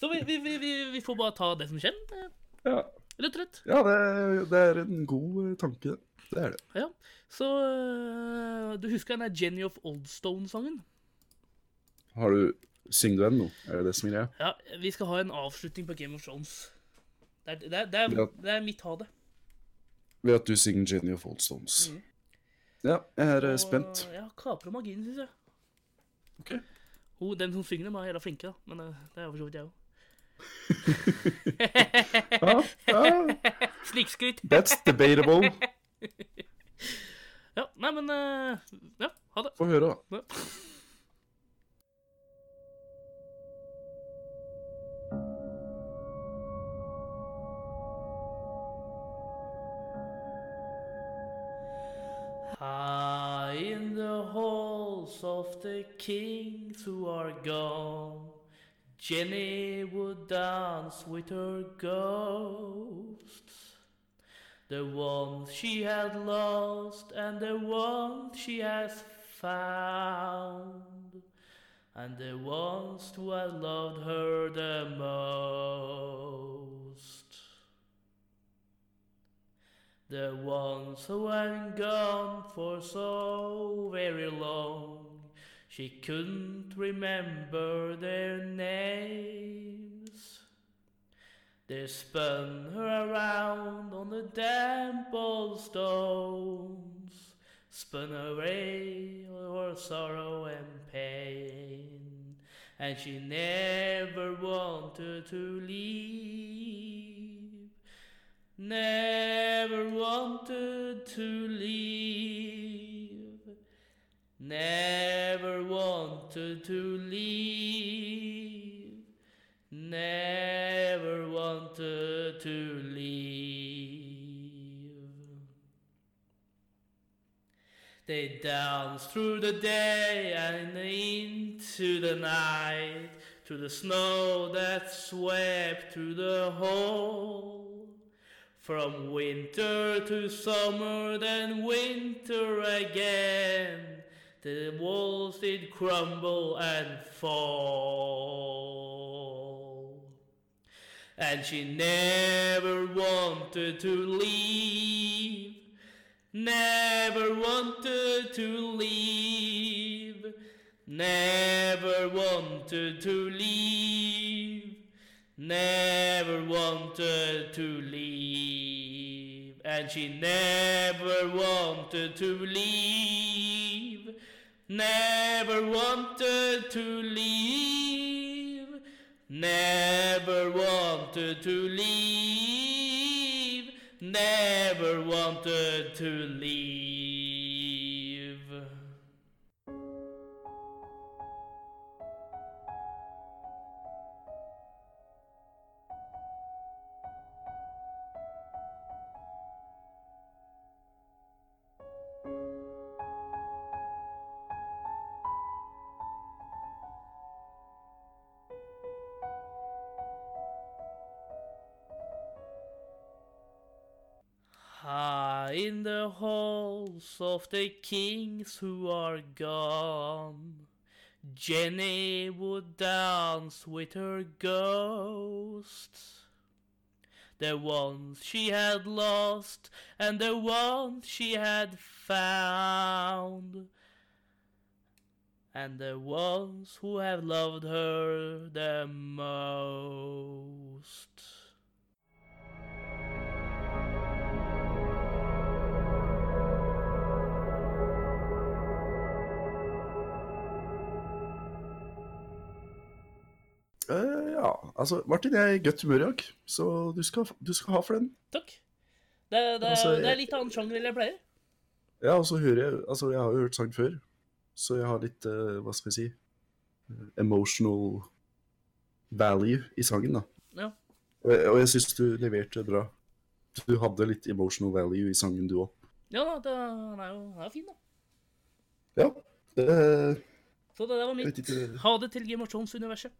Speaker 2: Så vi, vi, vi, vi, vi får bare ta det som skjer, eh,
Speaker 1: Ja,
Speaker 2: rett og slett.
Speaker 1: ja det, er, det er en god eh, tanke, det. Det er det.
Speaker 2: Ja. Så eh, du husker den der Jenny of Oldstone-sangen?
Speaker 1: Har du Syng du den nå? Er det det som er greia?
Speaker 2: Ja, vi skal ha en avslutning på Game of Thrones. Det er, det er, det
Speaker 1: Ja.
Speaker 2: er, det er mitt ha det.
Speaker 1: Ved at du synger Jenny of Old Stones.
Speaker 2: Mhm.
Speaker 1: Ja, jeg er eh,
Speaker 2: Og,
Speaker 1: spent.
Speaker 2: Ja, kaprer magien, syns jeg.
Speaker 1: Ok.
Speaker 2: Hun, den som synger dem, er jævla flinke, da. Men eh, det er jo for så vidt jeg òg.
Speaker 1: Ja, ja,
Speaker 2: Snikskryt.
Speaker 1: that's debatable.
Speaker 2: Ja, nei, men eh, Ja, ha det.
Speaker 1: Få høre, da.
Speaker 2: Ja. in the halls of the kings who are gone. Jenny would dance with her ghosts. The ones she had lost and the ones she has found. And the ones who had loved her the most. The ones who had gone for so very long, she couldn't remember their names. They spun her around on the temple stones, spun away her sorrow and pain, and she never wanted to leave never wanted to leave, never wanted to leave, never wanted to leave. They danced through the day and into the night, through the snow that swept through the hall. From winter to summer, then winter again, the walls did crumble and fall. And she never wanted to leave, never wanted to leave, never wanted to leave, never wanted to leave, and she never wanted to leave, never wanted to leave, never wanted to leave, never wanted to leave. High in the halls of the kings who are gone, Jenny would dance with her ghosts. The ones she had lost and the ones she had found, and the ones who have loved her the most.
Speaker 1: Eh, ja, altså Martin, jeg er i godt humør i dag, så du skal, du skal ha for den.
Speaker 2: Takk. Det, er- det, er-
Speaker 1: Altså,
Speaker 2: det er
Speaker 1: jeg-
Speaker 2: litt annen sjanger enn jeg pleier.
Speaker 1: Ja, og så hører jeg Altså, jeg har jo hørt sang før, så jeg har litt, eh, hva skal vi si eh, Emotional value i sangen, da.
Speaker 2: Ja.
Speaker 1: Og jeg, og jeg syns du leverte bra. Du hadde litt emotional value i sangen, du òg.
Speaker 2: Ja da, det, han er jo han er fin, da.
Speaker 1: Ja. Det,
Speaker 2: Så det der var
Speaker 1: jeg vet
Speaker 2: mitt.
Speaker 1: ikke,
Speaker 2: Ha det til Game of Thrones-universet.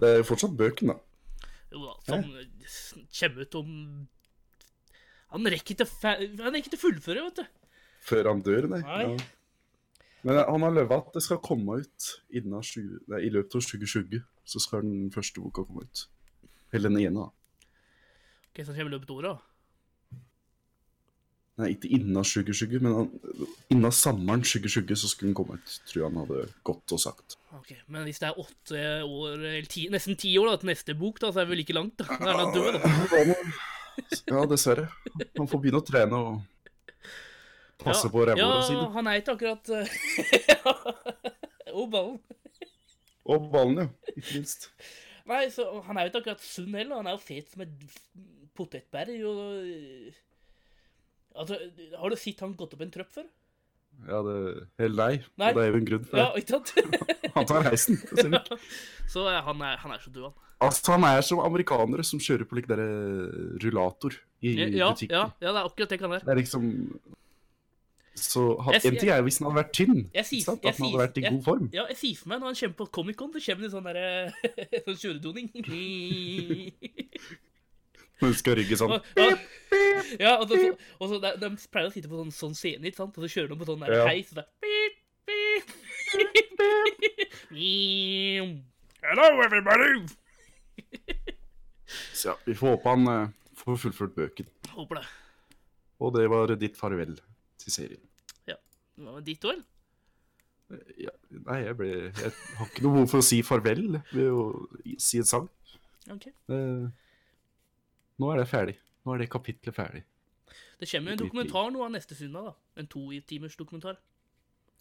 Speaker 1: det er jo fortsatt bøken, da.
Speaker 2: Jo da, som kommer ut om Han rekker ikke å fa- han rekker ikke å fullføre, vet du.
Speaker 1: Før han dør, nei.
Speaker 2: Nei.
Speaker 1: Ja. Men han har lova at det skal komme ut innen 20, nei, i løpet av 2020. Så skal den første boka komme ut. Eller den ene, da.
Speaker 2: Ok, Så han kommer i løpet av året, da.
Speaker 1: Nei, ikke innen 2020, men han, innen sommeren 2020 så skulle den komme ut. Tror jeg han hadde gått og sagt.
Speaker 2: Ok, Men hvis det er åtte år, eller ti, nesten ti år da, til neste bok, da, så er det vel like langt? da. Da er han død, da.
Speaker 1: Ja, dessverre. Han får begynne å trene og passe på
Speaker 2: ja,
Speaker 1: rævhåra
Speaker 2: ja,
Speaker 1: sine.
Speaker 2: han er ikke akkurat *laughs* eh, Og ballen.
Speaker 1: Og ballen, ja. Ikke minst.
Speaker 2: Nei, så han er jo ikke akkurat sunn heller. Han er jo fet som et potetberg og eh, Altså, har du sett han gått opp en trøpp før?
Speaker 1: Ja, det Eller nei.
Speaker 2: Nei.
Speaker 1: Det er jo en grunn for
Speaker 2: Ja,
Speaker 1: det.
Speaker 2: ikke sant?
Speaker 1: *laughs* Han tar heisen. det
Speaker 2: *laughs*
Speaker 1: ser vi.
Speaker 2: så eh, han er, han er så død, han.
Speaker 1: Altså, han er som amerikanere som kjører på like der eh, rullator i
Speaker 2: Ja, ja,
Speaker 1: butikken.
Speaker 2: ja, det er akkurat det han er.
Speaker 1: Det er liksom Så had,
Speaker 2: Jeg sier-
Speaker 1: en ting er jo hvis den hadde vært tynn,
Speaker 2: Jeg sier-
Speaker 1: ikke sant?
Speaker 2: jeg
Speaker 1: at den hadde
Speaker 2: sier-
Speaker 1: vært i
Speaker 2: jeg-
Speaker 1: god form.
Speaker 2: Ja, jeg sier for meg når han kommer på Comic-Con, så kommer han i sånn derre *laughs* Sånn kjøredoning.
Speaker 1: *laughs* Men skal rygge sånn.
Speaker 2: Og- og- Ja, og, så, og så de, de pleier å sitte på sånn, sånn scene, ikke sant? Og så kjører de på sånn der
Speaker 1: Ja.
Speaker 2: heis, og så beep, beep, *laughs* beep, beep. Hello, everybody!
Speaker 1: Så ja, vi får håpe han eh, får fullført bøken.
Speaker 2: Håper det.
Speaker 1: Og det var ditt farvel til serien.
Speaker 2: Det var ditt år.
Speaker 1: Ja, nei, jeg ble Jeg har ikke noe behov for å si farvel ved å si en sang.
Speaker 2: Ok.
Speaker 1: Eh, nå er det ferdig. Nå er det kapitlet ferdig.
Speaker 2: Det kommer jo en dokumentar nå av neste søndag, da. En to timers dokumentar.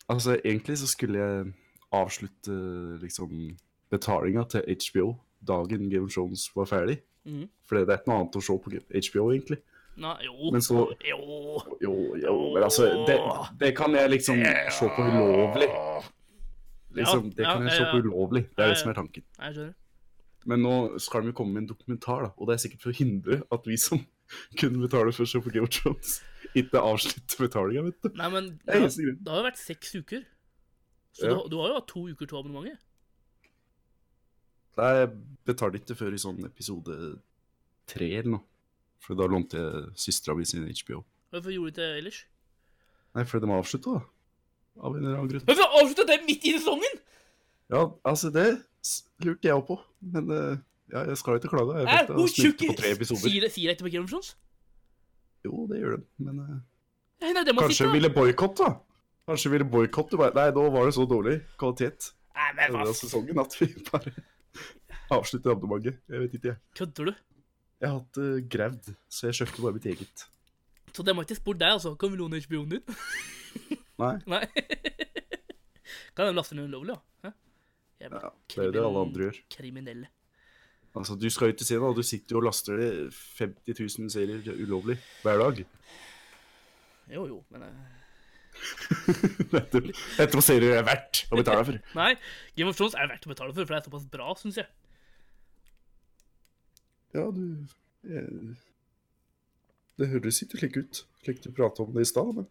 Speaker 1: Altså, egentlig så skulle jeg avslutte liksom betalinga til HBO dagen Game of Thrones var ferdig.
Speaker 2: Mhm.
Speaker 1: For det er ikke noe annet å se på HBO, egentlig.
Speaker 2: Nei, jo.
Speaker 1: Men så-
Speaker 2: Jo.
Speaker 1: Jo, jo, men altså Det, det kan jeg liksom se på ulovlig. Liksom, det kan jeg se på ulovlig. Det er det som er tanken.
Speaker 2: Nei, jeg skjønner.
Speaker 1: Men nå skal de jo komme med en dokumentar, da. Og det er sikkert for å hindre at vi som *laughs* kunne betale for å se på Game of Thrones, ikke avslutter betalinga, vet du.
Speaker 2: Nei, men
Speaker 1: Det er
Speaker 2: det,
Speaker 1: eneste grunn.
Speaker 2: det har jo vært seks uker. Så
Speaker 1: Ja.
Speaker 2: du, har- du har jo hatt to uker til abonnementet.
Speaker 1: Nei, jeg betalte ikke før i sånn episode tre eller noe. For da lånte jeg søstera mi sin HBO.
Speaker 2: Hvorfor gjorde du ikke det ellers?
Speaker 1: Nei, fordi de har avslutta, da. Av en eller annen grunn.
Speaker 2: Hvorfor avslutta det midt i sesongen?
Speaker 1: Ja, altså, det s- lurte jeg òg på. Men eh, ja, jeg skal ikke klage. Jeg
Speaker 2: Hæ?
Speaker 1: vet det,
Speaker 2: Hvor
Speaker 1: jeg snulte på
Speaker 2: tjukke-
Speaker 1: tre episoder.
Speaker 2: Sier det sier det ikke på Game of Thrones?
Speaker 1: Jo, det gjør de. Men eh,
Speaker 2: Nei, nei, det må
Speaker 1: kanskje
Speaker 2: sitte, da.
Speaker 1: ville boikotte, da. Kanskje ville boikotte. bare, Nei, nå var det så dårlig kvalitet.
Speaker 2: Nei, men
Speaker 1: denne
Speaker 2: hva
Speaker 1: sesongen at vi bare avslutter abonnementet. Jeg vet ikke, jeg.
Speaker 2: kødder du?
Speaker 1: Jeg har hatt uh, gravd, så jeg kjøpte bare mitt eget.
Speaker 2: Så det må ikke spurt deg, altså. Kan vi låne HBO-en din? *laughs*
Speaker 1: Nei,
Speaker 2: Nei. Kan de laste ned ulovlig, da? Hæ? Jævla
Speaker 1: ja, det er det alle andre gjør.
Speaker 2: Kriminelle.
Speaker 1: Altså, Du skal jo ikke se det, og du sitter jo og laster det 50 000 serier ulovlig hver dag. *laughs*
Speaker 2: Jo, jo, men eh,
Speaker 1: Nettopp. Etter hva serier er verdt å betale for.
Speaker 2: Nei, Game of Thrones er verdt å betale for, for det er såpass bra, syns jeg.
Speaker 1: Ja, du eh, Det høres ikke slik ut, slik du prata om det i stad, men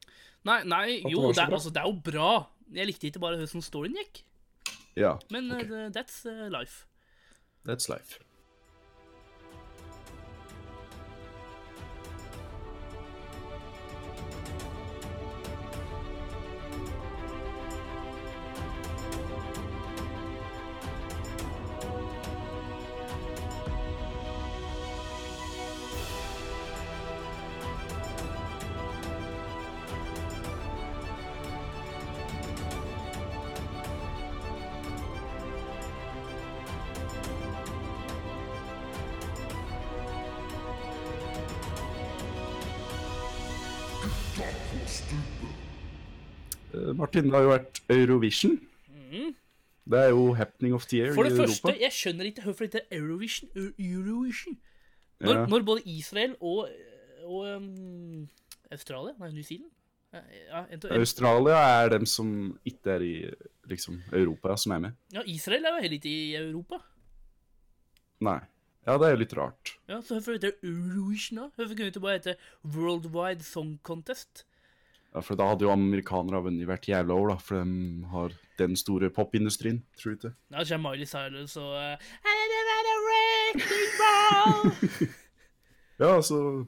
Speaker 2: Nei, nei,
Speaker 1: det
Speaker 2: jo,
Speaker 1: var så
Speaker 2: det er,
Speaker 1: bra.
Speaker 2: altså, det er jo bra. Jeg likte ikke bare hvordan storyen gikk,
Speaker 1: Ja.
Speaker 2: men eh,
Speaker 1: Ok.
Speaker 2: det- that's eh, life.
Speaker 1: That's life. Eh, Martin, det har jo vært Eurovision. Det er jo happening of the year
Speaker 2: Mm. For det
Speaker 1: i
Speaker 2: første,
Speaker 1: Europa.
Speaker 2: jeg skjønner ikke hvorfor det heter Eurovision. Eu- Eurovision. Når,
Speaker 1: Ja.
Speaker 2: når både Israel og, og um, Australia Nei, New Zealand? Ja, ja, en- en-
Speaker 1: Australia er dem som ikke er i liksom, Europa, som er med.
Speaker 2: ja, Israel er jo heller ikke i Europa.
Speaker 1: Nei. Ja, det er jo litt rart.
Speaker 2: Ja, Så hvorfor heter det Eurovision, da? Hvorfor kunne det ikke bare hete Worldwide Song Contest?
Speaker 1: Ja, for da hadde jo amerikanere vunnet hvert jævla år, da, for de har den store popindustrien, tror du ikke?
Speaker 2: Ja, så kommer Miley Cyrus og eh, I don't wanna rock and roll.
Speaker 1: Ja, altså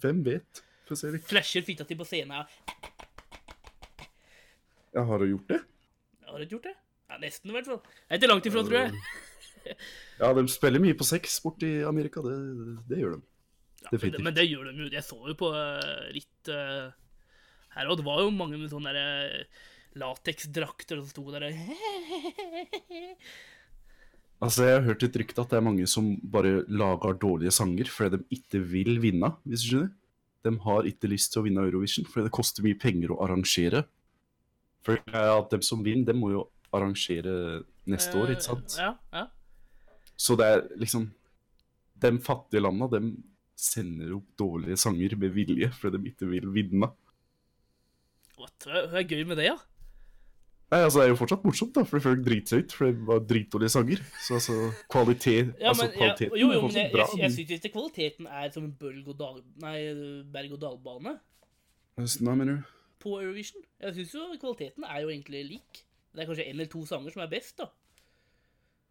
Speaker 1: Hvem vet? Få se litt.
Speaker 2: Flasher fitta til på scenen.
Speaker 1: Jeg har jo gjort det.
Speaker 2: Jeg har ikke gjort det. Ja, nesten, i hvert fall. Jeg er ikke langt ifra, tror jeg.
Speaker 1: Ja, de spiller mye på sex borti Amerika, det, det gjør de.
Speaker 2: Men det,
Speaker 1: Definitivt.
Speaker 2: men det gjør de jo. Jeg så jo på eh, litt eh, her, og det var jo mange med sånne der, eh, lateksdrakter som sto der
Speaker 1: *laughs* Altså, Jeg har hørt et rykte at det er mange som bare lager dårlige sanger fordi de ikke vil vinne, hvis du skjønner. De har ikke lyst til å vinne Eurovision fordi det koster mye penger å arrangere. For det er at dem som vinner, dem må jo arrangere neste år, ikke sant?
Speaker 2: Eh, Ja, ja.
Speaker 1: Så det er liksom De fattige landa, dem sender opp dårlige sanger med vilje fordi de ikke vil vinne.
Speaker 2: What? Hva er gøy med det, ja?
Speaker 1: Nei, altså, Det er jo fortsatt morsomt, da, for folk driter seg ut, for det var dritdårlige sanger. Så altså, kvalitet,
Speaker 2: ja
Speaker 1: altså,
Speaker 2: men,
Speaker 1: kvaliteten
Speaker 2: ja, jo,
Speaker 1: er
Speaker 2: jo, men jeg,
Speaker 1: fortsatt bra.
Speaker 2: jeg, jeg syns ikke kvaliteten er som en bølg og dal... Nei, berg-og-dal-bane.
Speaker 1: Høsten, da, mener du?
Speaker 2: på Eurovision. Jeg syns jo kvaliteten er jo egentlig lik. Det er kanskje én eller to sanger som er best, da.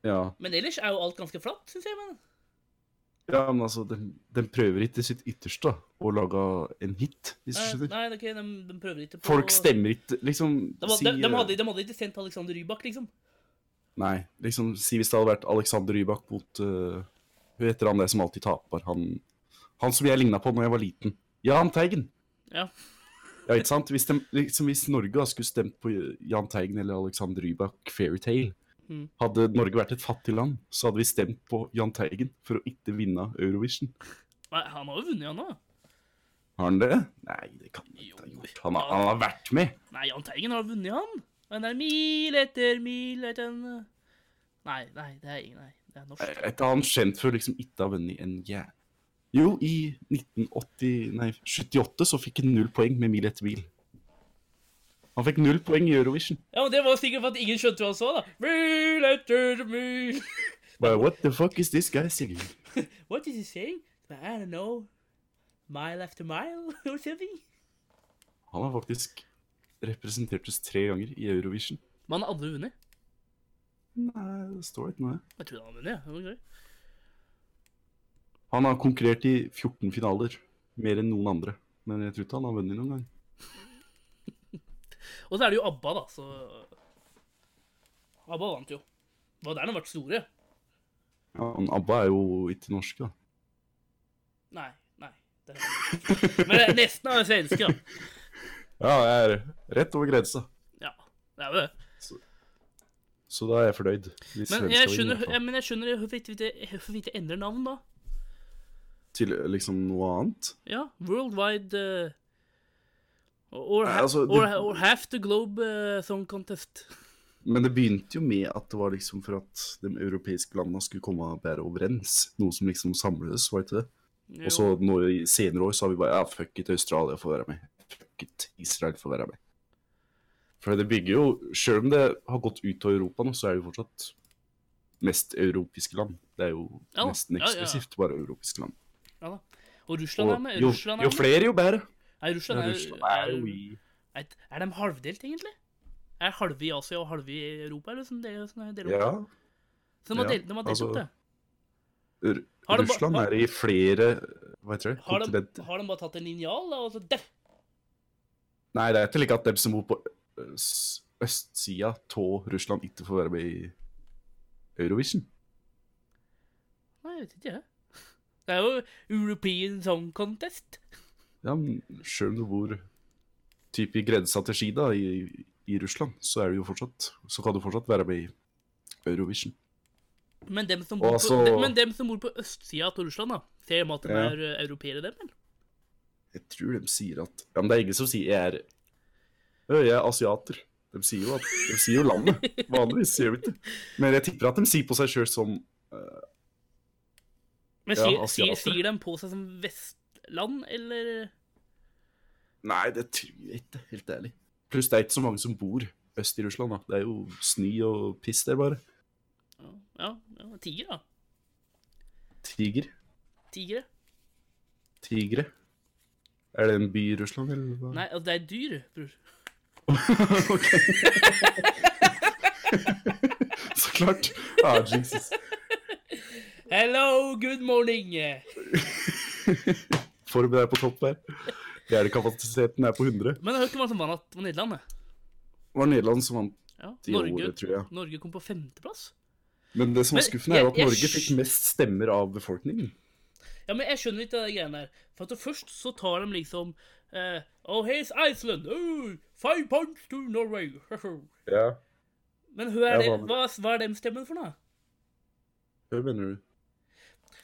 Speaker 1: Ja.
Speaker 2: Men ellers er jo alt ganske flatt, syns jeg. Men
Speaker 1: ja, men altså, den, den prøver ikke sitt ytterste å lage en hit, hvis du
Speaker 2: nei,
Speaker 1: skjønner.
Speaker 2: nei det er ikke, de, de prøver ikke på
Speaker 1: Folk stemmer ikke, liksom.
Speaker 2: De, hadde-
Speaker 1: sier-
Speaker 2: de, de, hadde, de hadde ikke sendt Alexander Rybak, liksom.
Speaker 1: Nei, liksom, si hvis det hadde vært Alexander Rybak mot uh, Hun heter han det som alltid taper. Han, han som jeg ligna på når jeg var liten. Jahn Teigen.
Speaker 2: Ja.
Speaker 1: Ja, ikke sant? Hvis, dem- liksom, hvis Norge da skulle stemt på Jahn Teigen eller Alexander Rybak Fairytale,
Speaker 2: Mm.
Speaker 1: hadde Norge vært et fattig land, så hadde vi stemt på Jahn Teigen for å ikke vinne Eurovision.
Speaker 2: Nei, han har jo vunnet, han òg.
Speaker 1: Har han det? Nei, det kan han ikke ha gjort. Han har, han har vært med.
Speaker 2: Nei, Jahn Teigen har vunnet, han. Han er mil etter mil etter en eh. Nei, nei, det er ingen, nei. Det er norsk.
Speaker 1: Er ikke han kjent for å liksom ikke ha vunnet en jæ... Jo, i 1980, nei, 78 så fikk han null poeng med mil etter mil. Han fikk null poeng i Eurovision.
Speaker 2: Ja, men Det var sikkert for at ingen skjønte hva han sa, da. Mil etter mil.
Speaker 1: Bare, what the fuck is this guy singing?
Speaker 2: What is he saying? I don't know. Mile after mile, *laughs* or something.
Speaker 1: Han har faktisk representert oss tre ganger i Eurovision.
Speaker 2: Men han har aldri vunnet.
Speaker 1: Nei, det står ikke noe.
Speaker 2: Jeg trodde han hadde vunnet. ja. Det var gøy.
Speaker 1: Han har konkurrert i 14 finaler, mer enn noen andre. Men jeg tror ikke han har vunnet noen gang.
Speaker 2: Og så er det jo ABBA, da, så ABBA vant jo. Det var der de ble store.
Speaker 1: Ja, han Abba er jo ikke norsk, da.
Speaker 2: Nei, nei. Det er... Men det er nesten av det svenske, da.
Speaker 1: Ja, jeg er rett over grensa.
Speaker 2: Ja, det er jo det.
Speaker 1: Så da er jeg fornøyd. hvis
Speaker 2: Men
Speaker 1: svenska
Speaker 2: jeg
Speaker 1: vinner, i
Speaker 2: skjønner,
Speaker 1: hvert fall.
Speaker 2: ja, men jeg skjønner hvorfor ikke vi ikke- hvorfor vi ikke endrer navn, da.
Speaker 1: Til liksom noe annet.
Speaker 2: Ja, Worldwide eh, or,
Speaker 1: Nei,
Speaker 2: ha-
Speaker 1: altså, det-
Speaker 2: or, or Half the Globe eh, Song Contest.
Speaker 1: Men det begynte jo med at det var liksom for at de europeiske landene skulle komme bedre overens. Noe som liksom samles, var ikke det?
Speaker 2: Jo.
Speaker 1: Og så nå i senere år så har vi bare ja, fuck it, Australia får være med. Fuck it, Israel får være med. For det bygger jo Sjøl om det har gått ut av Europa nå, så er det jo fortsatt mest europeiske land. Det er jo
Speaker 2: Ja,
Speaker 1: nesten
Speaker 2: ja, ja.
Speaker 1: eksklusivt bare europeiske land.
Speaker 2: Ja da. Og Russland er
Speaker 1: Og
Speaker 2: med.
Speaker 1: jo,
Speaker 2: Russland er
Speaker 1: jo
Speaker 2: med.
Speaker 1: flere, jo bedre.
Speaker 2: Nei, Russland
Speaker 1: Ja,
Speaker 2: er,
Speaker 1: Russland er jo i
Speaker 2: Er, er de halvdelt, egentlig? Er halve i Asia og halve i Europa? eller sånn, del, sånn, del,
Speaker 1: Ja.
Speaker 2: Så de har
Speaker 1: ja,
Speaker 2: delt, de har delt
Speaker 1: altså,
Speaker 2: opp det.
Speaker 1: Ru-
Speaker 2: Har det ba-
Speaker 1: Russland
Speaker 2: har-
Speaker 1: er i flere hva heter det,
Speaker 2: Har de,
Speaker 1: kontinenter.
Speaker 2: har de bare tatt en linjal, da, og så der?
Speaker 1: Nei, det er ikke like at dem som bor på øs- østsida av Russland, ikke får være med i Eurovision.
Speaker 2: Nei, jeg vet ikke, jeg. Det er jo European Song Contest.
Speaker 1: Ja, men Sjøl om du bor typ i grensa til Ski, da, i, i Russland, så, er du jo fortsatt, så kan du fortsatt være med i Eurovision.
Speaker 2: Men dem som bor,
Speaker 1: Og så-
Speaker 2: på, de, men dem som bor på østsida av Russland, da, ser de at de
Speaker 1: Ja.
Speaker 2: er eh, europeere, dem? eller?
Speaker 1: Jeg tror de sier at Ja, men det er ingen som sier jeg er «Ø, Jeg er asiater. De sier jo, at, de sier jo landet. Vanligvis sier de ikke Men jeg tipper at de sier på seg sjøl som
Speaker 2: Men
Speaker 1: Ja,
Speaker 2: sier, sier,
Speaker 1: asiater.
Speaker 2: sier de på seg som vestland, eller
Speaker 1: Nei, det tror jeg ikke, helt ærlig. Pluss det er ikke så mange som bor øst i Russland, da. Det er jo snø og piss der, bare.
Speaker 2: Ja, ja, ja tiger, da.
Speaker 1: Tiger.
Speaker 2: Tigre.
Speaker 1: Tigre. Er det en by i Russland, eller hva?
Speaker 2: Nei, altså, det er dyr, bror.
Speaker 1: Ok. *laughs* så klart. Ja, Jesus.
Speaker 2: Hello, good morning! Men
Speaker 1: Formen er på topp der. Hjernekapasiteten er på 100.
Speaker 2: jeg hørte hva som vant på Nederland, jeg.
Speaker 1: Det var Nederland som vant
Speaker 2: Ja,
Speaker 1: i
Speaker 2: Norge,
Speaker 1: året, tror jeg.
Speaker 2: Norge kom på femteplass.
Speaker 1: Men det som
Speaker 2: Men
Speaker 1: er skuffende, er jo at
Speaker 2: jeg- jeg
Speaker 1: Norge fikk
Speaker 2: skj-
Speaker 1: mest stemmer av befolkningen.
Speaker 2: Ja, men jeg skjønner ikke det greiene der. For at først så tar de liksom eh, Oh, here's Iceland! Oh, five points to Norway! *laughs*
Speaker 1: Ja.
Speaker 2: men hva er, det,
Speaker 1: Ja, hva-
Speaker 2: hva, hva er dem stemmen for noe?
Speaker 1: Hva mener du?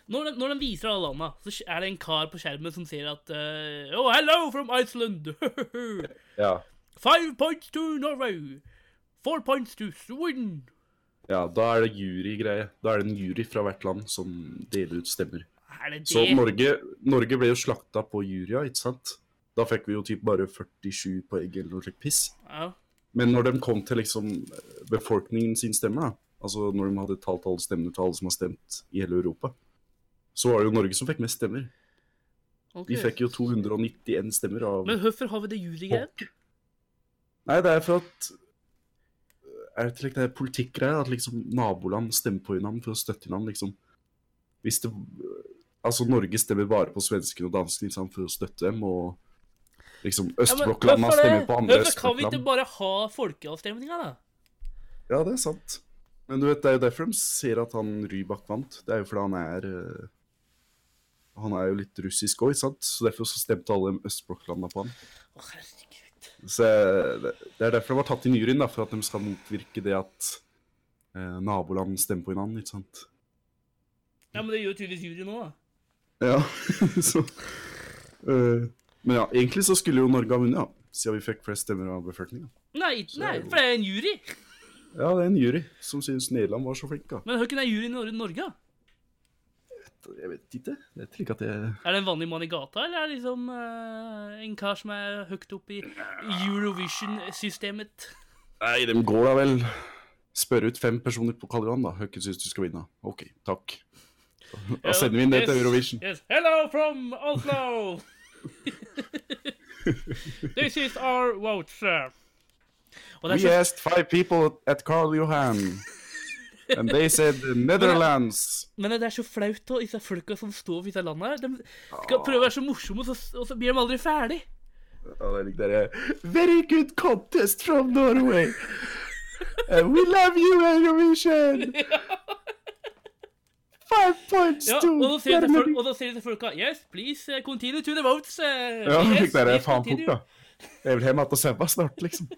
Speaker 2: Når de, når de viser alle landa, så sk- er det en kar på skjermen som sier at eh, Oh, hello from Iceland! *laughs*
Speaker 1: Ja.
Speaker 2: five points to Norway! Four points to Sweden!
Speaker 1: ja, da er det jurygreie. Da er det en jury fra hvert land som deler ut stemmer.
Speaker 2: Er det det?
Speaker 1: Så Norge, Norge ble jo slakta på jurya, ikke sant? Da fikk vi jo typ bare 47 poeng eller noe slikt piss.
Speaker 2: Ja.
Speaker 1: Men når de kom til liksom befolkningen sin stemme, da, altså når de hadde talt alle stemmene til alle som har stemt i hele Europa, så var det jo Norge som fikk mest stemmer.
Speaker 2: ok.
Speaker 1: Vi fikk jo 291 stemmer av
Speaker 2: Men hvorfor har vi det jurygreiet?
Speaker 1: Nei, det er for at eh, Er det til like, det er politikkgreier? At liksom naboland stemmer på hverandre for å støtte hverandre, liksom. Hvis det Altså, Norge stemmer bare på svenskene og danskene ikke sant, for å støtte dem, og liksom
Speaker 2: Ja, men
Speaker 1: østblokklandene
Speaker 2: hvorfor det?
Speaker 1: stemmer på andre
Speaker 2: Ja, men Kan vi ikke
Speaker 1: østblokkland.
Speaker 2: bare ha folkeavstemninga, da?
Speaker 1: Ja, det er sant. Men du vet, det er jo derfor de ser at han Rybak vant. Det er jo fordi han er eh, Han er jo litt russisk òg, ikke sant? Så derfor så stemte alle de østblokklandene på han.
Speaker 2: Å, herregud.
Speaker 1: Så jeg- det det er derfor de har tatt inn juryen, da, for at de skal motvirke det at eh, naboland stemmer på hverandre, ikke sant?
Speaker 2: Ja, men det gjør tydeligvis juryen nå, da.
Speaker 1: Ja, *laughs* så eh, Men ja, egentlig så skulle jo Norge ha vunnet, ja. Siden vi fikk flest stemmer av befolkninga.
Speaker 2: Nei, ikke- nei, for det er en jury.
Speaker 1: Ja, det er en jury som syns Nederland var så flink, da.
Speaker 2: Men hvem er juryen i Nor- Norge? da?
Speaker 1: Jeg vet ikke. Jeg tror ikke at jeg
Speaker 2: Er det en vanlig mann i gata, eller er det liksom eh, en kar som er høyt opp i Eurovision-systemet?
Speaker 1: Nei, de går da vel. Spør ut fem personer på Karl Johan, da. Høyke syns du skal vinne. OK, takk. Da sender vi inn det til Eurovision.
Speaker 2: Yes, hello from
Speaker 1: *laughs*
Speaker 2: Oslo! This is our vote, sir. Og det
Speaker 1: We
Speaker 2: er så,
Speaker 1: asked five people at Karl Johan, and they said
Speaker 2: *laughs*
Speaker 1: Netherlands.
Speaker 2: men det er så flaut av disse folka som står ved disse landene her. De
Speaker 1: Ah.
Speaker 2: skal prøve å være så morsomme, og så, og så blir de aldri ferdig.
Speaker 1: Ja, det likte dere. Very good contest from
Speaker 2: *laughs*
Speaker 1: Norway. And we love you, Eurovision!
Speaker 2: *laughs*
Speaker 1: Five points
Speaker 2: Ja,
Speaker 1: to
Speaker 2: og da sier disse fol- og da sier disse folka Yes, please eh, continue to the votes. eh,
Speaker 1: Ja,
Speaker 2: yes,
Speaker 1: fikk dere
Speaker 2: please
Speaker 1: faen fort,
Speaker 2: continue."
Speaker 1: da. Jeg vil hjem igjen og saua snart, liksom.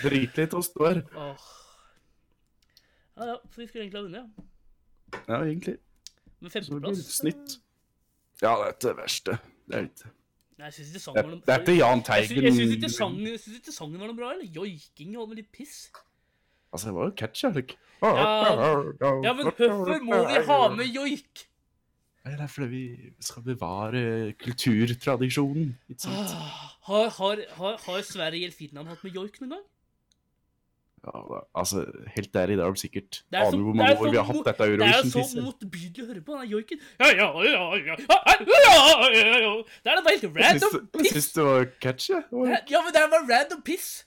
Speaker 1: Drit litt og stå her.
Speaker 2: Åh. Ja, ja, så vi skulle egentlig ha vunnet, ja.
Speaker 1: Ja, egentlig.
Speaker 2: Men
Speaker 1: Så det blir
Speaker 2: femteplass
Speaker 1: litt snitt. Ja, det er ikke det verste. Det er ikke
Speaker 2: Nei, jeg syns ikke
Speaker 1: Det
Speaker 2: sangen
Speaker 1: er,
Speaker 2: var noe
Speaker 1: det er ikke Jahn
Speaker 2: Jeg
Speaker 1: Teigen
Speaker 2: syns- Jeg syns ikke, sangen- jeg syns ikke sangen var noe bra, eller? Joiking og med litt piss.
Speaker 1: Altså, det var jo catchy, er det ikke?
Speaker 2: Ja, men hvorfor må vi ha med joik?
Speaker 1: Nei, Det er fordi vi skal bevare kulturtradisjonen, ikke sant?
Speaker 2: Ah, Har, har, har, har Sverige eller Finland hatt med joik noen gang?
Speaker 1: Ja, da, altså, helt der i dag har de sikkert
Speaker 2: Det er så-
Speaker 1: aner hvor
Speaker 2: det
Speaker 1: mange
Speaker 2: er
Speaker 1: år
Speaker 2: så
Speaker 1: vi har
Speaker 2: mot-
Speaker 1: hatt
Speaker 2: Det
Speaker 1: dette
Speaker 2: er jo så
Speaker 1: Eurovision-tisset.
Speaker 2: motbydelig å høre på, den joiken. Ja, ja, ja, ja, ja, ja, ja, ja, ja. Det er da bare helt
Speaker 1: Jeg
Speaker 2: random
Speaker 1: syns- jeg
Speaker 2: piss.
Speaker 1: syns det var catchy. Det var-
Speaker 2: Ja, men det er bare random piss.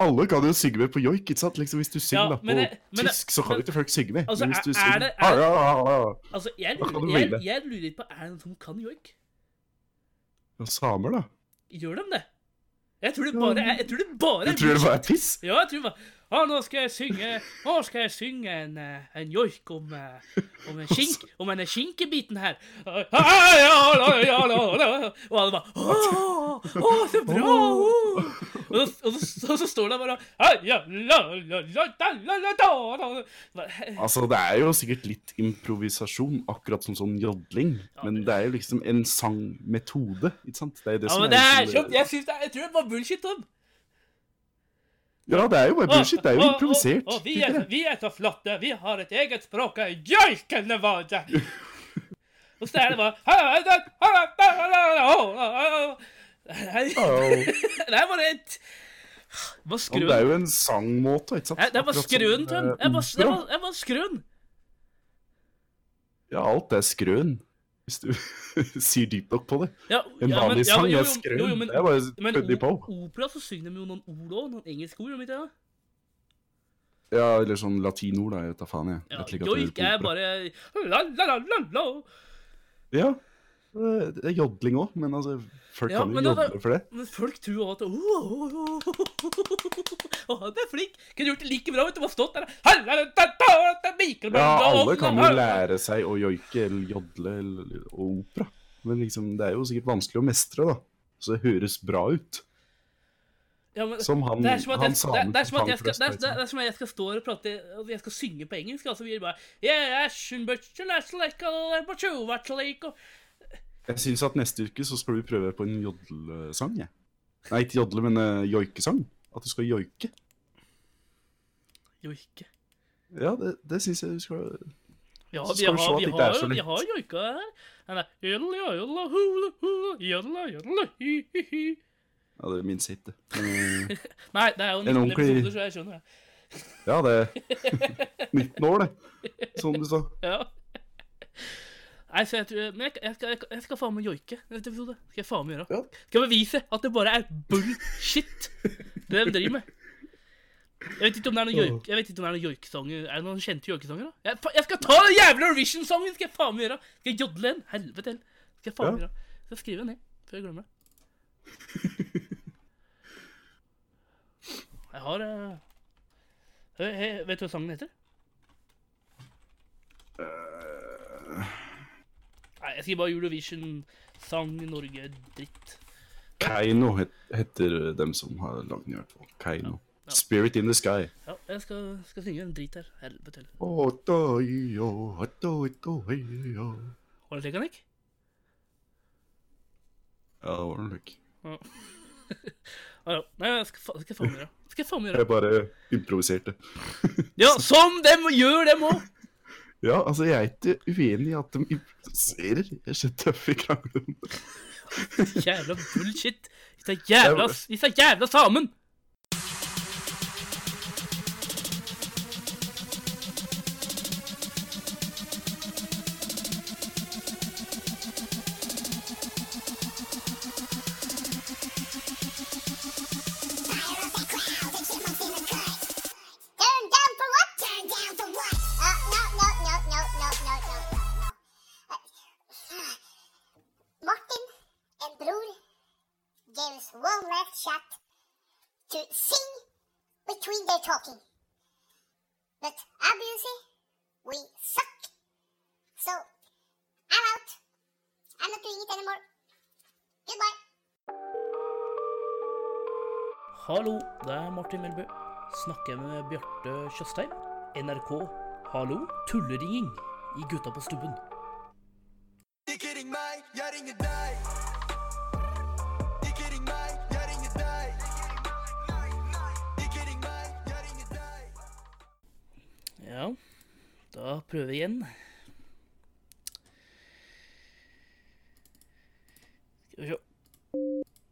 Speaker 1: Alle kan jo synge med på joik, ikke sant? Liksom, hvis du synger
Speaker 2: Ja,
Speaker 1: da, på
Speaker 2: men det- men det-
Speaker 1: tysk, så kan
Speaker 2: men-
Speaker 1: ikke folk synge med.
Speaker 2: Altså,
Speaker 1: men hvis du
Speaker 2: er- er
Speaker 1: synger
Speaker 2: det-
Speaker 1: Ah,
Speaker 2: er-
Speaker 1: ja, ja, ja.
Speaker 2: Altså, jeg
Speaker 1: Da kan
Speaker 2: lurer,
Speaker 1: du
Speaker 2: jeg,
Speaker 1: ville.
Speaker 2: jeg lurer litt på Er det noen som kan joik?
Speaker 1: Og Samer, da?
Speaker 2: Gjør de det? Jeg tror det bare er Jeg tror det bare
Speaker 1: Du
Speaker 2: er
Speaker 1: tror det bare er piss?
Speaker 2: Ja, jeg tror bare Å, nå skal jeg synge Nå skal jeg synge en, eh, en joik om, eh, om,
Speaker 1: *laughs*
Speaker 2: en skink, om denne skinkebiten her. Ah, Og alle bare Å, å så bra! å!» Og, så, og, så, og så står det bare «Ai, ja, la, la, la, da, la, la, da, da». Bare,
Speaker 1: Altså, det er jo sikkert litt improvisasjon, akkurat som sånn jodling.
Speaker 2: Ja,
Speaker 1: Men
Speaker 2: det-
Speaker 1: det er jo liksom en sangmetode, ikke sant? Det er jo det
Speaker 2: Ja,
Speaker 1: som
Speaker 2: men det er
Speaker 1: liksom-
Speaker 2: kjøpt. Jeg, synes det er, jeg tror det var bullshit, Tom.
Speaker 1: Ja, det er jo bare bullshit. Det er jo
Speaker 2: Å, å, å,
Speaker 1: improvisert.
Speaker 2: å, vi,
Speaker 1: tenker
Speaker 2: er,
Speaker 1: jeg.
Speaker 2: vi er så flotte. Vi har et eget språk. er Joikene våre. Og så er det bare
Speaker 1: Au.
Speaker 2: Det er bare et Hva
Speaker 1: Ja, men Det er
Speaker 2: skrøn?
Speaker 1: jo en sangmåte, ikke sant?
Speaker 2: Nei, Det er bare
Speaker 1: Akkurat som,
Speaker 2: skrøn, Tom. Det
Speaker 1: eh,
Speaker 2: er bare- det er
Speaker 1: opera.
Speaker 2: bare- det er bare skrøn.
Speaker 1: Ja, alt er skrøn. Hvis du *laughs* sier dypt nok på det.
Speaker 2: Ja, ja,
Speaker 1: En
Speaker 2: men- ja,
Speaker 1: vanlig sang
Speaker 2: men jo,
Speaker 1: er
Speaker 2: jo,
Speaker 1: skrøn.
Speaker 2: jo, jo, men-
Speaker 1: det er bare
Speaker 2: Men
Speaker 1: pøddig på.
Speaker 2: o- opera så synger de jo noen ord òg. Noen engelske ord, om ikke det?
Speaker 1: Ja, eller sånn latinord, da. Jeg vet da faen, jeg.
Speaker 2: Ja,
Speaker 1: Vet ikke at det
Speaker 2: joik
Speaker 1: på opera.
Speaker 2: er bare la, la, la, la, la.
Speaker 1: Ja. Det er jodling òg, men altså Folk
Speaker 2: Ja,
Speaker 1: kan jo
Speaker 2: men det-
Speaker 1: jodle for det.
Speaker 2: Men folk tror jo at Å, han er flink! Kunne gjort det like bra, vet du. Bare stått der «Halleluja, Michael
Speaker 1: Ja,
Speaker 2: Berndal,
Speaker 1: alle kan jo
Speaker 2: halleluja».
Speaker 1: lære seg å joike eller jodle eller og opera. Men liksom, det er jo sikkert vanskelig å mestre, da. Så det høres bra ut.
Speaker 2: ja, men,
Speaker 1: Som han,
Speaker 2: det er som at
Speaker 1: han
Speaker 2: jeg, det, er-
Speaker 1: samen
Speaker 2: det, er som at jeg skal, det, er, det, er,
Speaker 1: Frankfurt Østberg.
Speaker 2: det er som at jeg skal stå her og prate og Jeg skal synge på engelsk, altså. Vi er bare «Yeah, I shouldn't but you last like a- but you were to like a-»
Speaker 1: Jeg syns at neste uke så skal du prøve på en jodlesang, jeg. Nei, ikke jodle, men eh, joikesang. At du skal joike.
Speaker 2: Jo, ikke.
Speaker 1: Ja, det, det syns jeg du skal
Speaker 2: Ja,
Speaker 1: Så
Speaker 2: vi
Speaker 1: skal du se
Speaker 2: har,
Speaker 1: at
Speaker 2: vi
Speaker 1: det ikke
Speaker 2: har,
Speaker 1: er så
Speaker 2: jo- vi
Speaker 1: lett.
Speaker 2: har joika her. Den er «Jodla, jodla, hula, hula, jodla, jodla, hi, hi, hi».
Speaker 1: Ja, det minnes jeg ikke. Men, eh,
Speaker 2: Nei, det er jo
Speaker 1: En
Speaker 2: 19
Speaker 1: ordentlig-
Speaker 2: episoder, så jeg skjønner det.
Speaker 1: Ja, det er
Speaker 2: *laughs*
Speaker 1: 19 år, det. Som du sa.
Speaker 2: Ja. *laughs* Nei, så jeg tror, men jeg, jeg, skal, jeg, jeg skal faen meg joike neste episode. Skal jeg faen meg gjøre.
Speaker 1: Ja.
Speaker 2: Skal jeg bevise at det bare er bullshit. Det er det de driver med. Jeg vet ikke om det er noen joik- jeg vet ikke om det er noen joikesanger. Er det noen kjente joikesanger, da? Jeg, fa- jeg skal ta den jævla Eurovision-sangen! Skal jeg faen meg gjøre? Skal jeg jodle den? Helvete heller. Skal jeg faen meg
Speaker 1: Ja.
Speaker 2: gjøre? Skal jeg skrive den ned før jeg glemmer det? Jeg har eh, he- he- Vet du hva sangen heter? Nei, jeg skriver bare Eurovision-sang Norge-dritt.
Speaker 1: Keiino het, heter dem som har lagd den, i hvert fall. Keiino.
Speaker 2: Ja.
Speaker 1: Spirit in the sky.
Speaker 2: Ja, jeg skal, skal synge en drit her. Helvete heller.
Speaker 1: Åtoio, åtoio.
Speaker 2: Var det slik han gikk?
Speaker 1: Ja, det var noe løk.
Speaker 2: Ja. *laughs* Ja, ja. Nei, jeg skal, fa- skal jeg faen meg gjøre. Skal jeg faen meg gjøre.
Speaker 1: Jeg bare improviserte.
Speaker 2: Ja, som dem gjør dem òg!
Speaker 1: Ja, altså, jeg er ikke uenig i at de improviserer. Jeg er så tøff i krangelen.
Speaker 2: Jævla bullshit. Disse jævla, disse jævla samen!
Speaker 4: Turn down for what? Turn down for what? Uh, no, no, no, no, no, no, no, no, no. Uh, Martin and Broer gave us one last shot to sing between their talking. But obviously, we suck. So, I'm out. I'm not doing it anymore. Goodbye.
Speaker 2: Hallo, det er Martin Melbø. Snakker jeg med Bjarte Tjøstheim? NRK Hallo? Tulleringing i Gutta på stubben.
Speaker 5: Ikke ring meg, jeg ringer deg. Ikke ring meg, jeg ringer deg. Ikke ring meg, jeg ringer deg.
Speaker 2: Ja, da prøver vi igjen. Skal vi se.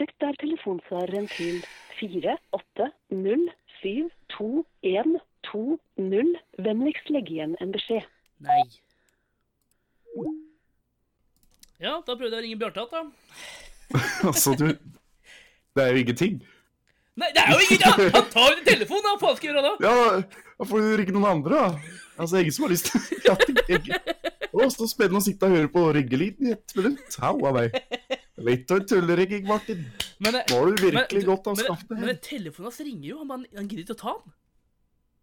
Speaker 6: Dette er telefonsvareren til 48072120. Vennligst legg igjen en beskjed.
Speaker 2: Nei. Ja, da prøvde jeg å ringe Bjarte igjen, da.
Speaker 1: *laughs* Altså, du Det er jo ingenting.
Speaker 2: Nei, det er jo ingen! Ja, han tar jo ikke telefonen, da! Faen skal jeg gjøre da?
Speaker 1: Ja, da får du ringe noen andre, da. Altså, ingen som har lyst *laughs* til ja, tenk- jeg- Å, så spennende å sitte og høre på ringeliten i ett minutt. Au av meg. Litt av en tulleringing, Martin.
Speaker 2: Men, eh,
Speaker 1: Nå har du virkelig
Speaker 2: men-
Speaker 1: godt av
Speaker 2: men-
Speaker 1: skaftet
Speaker 2: Men
Speaker 1: her.
Speaker 2: telefonen hans ringer jo. Han, bare- han gidder ikke å ta den.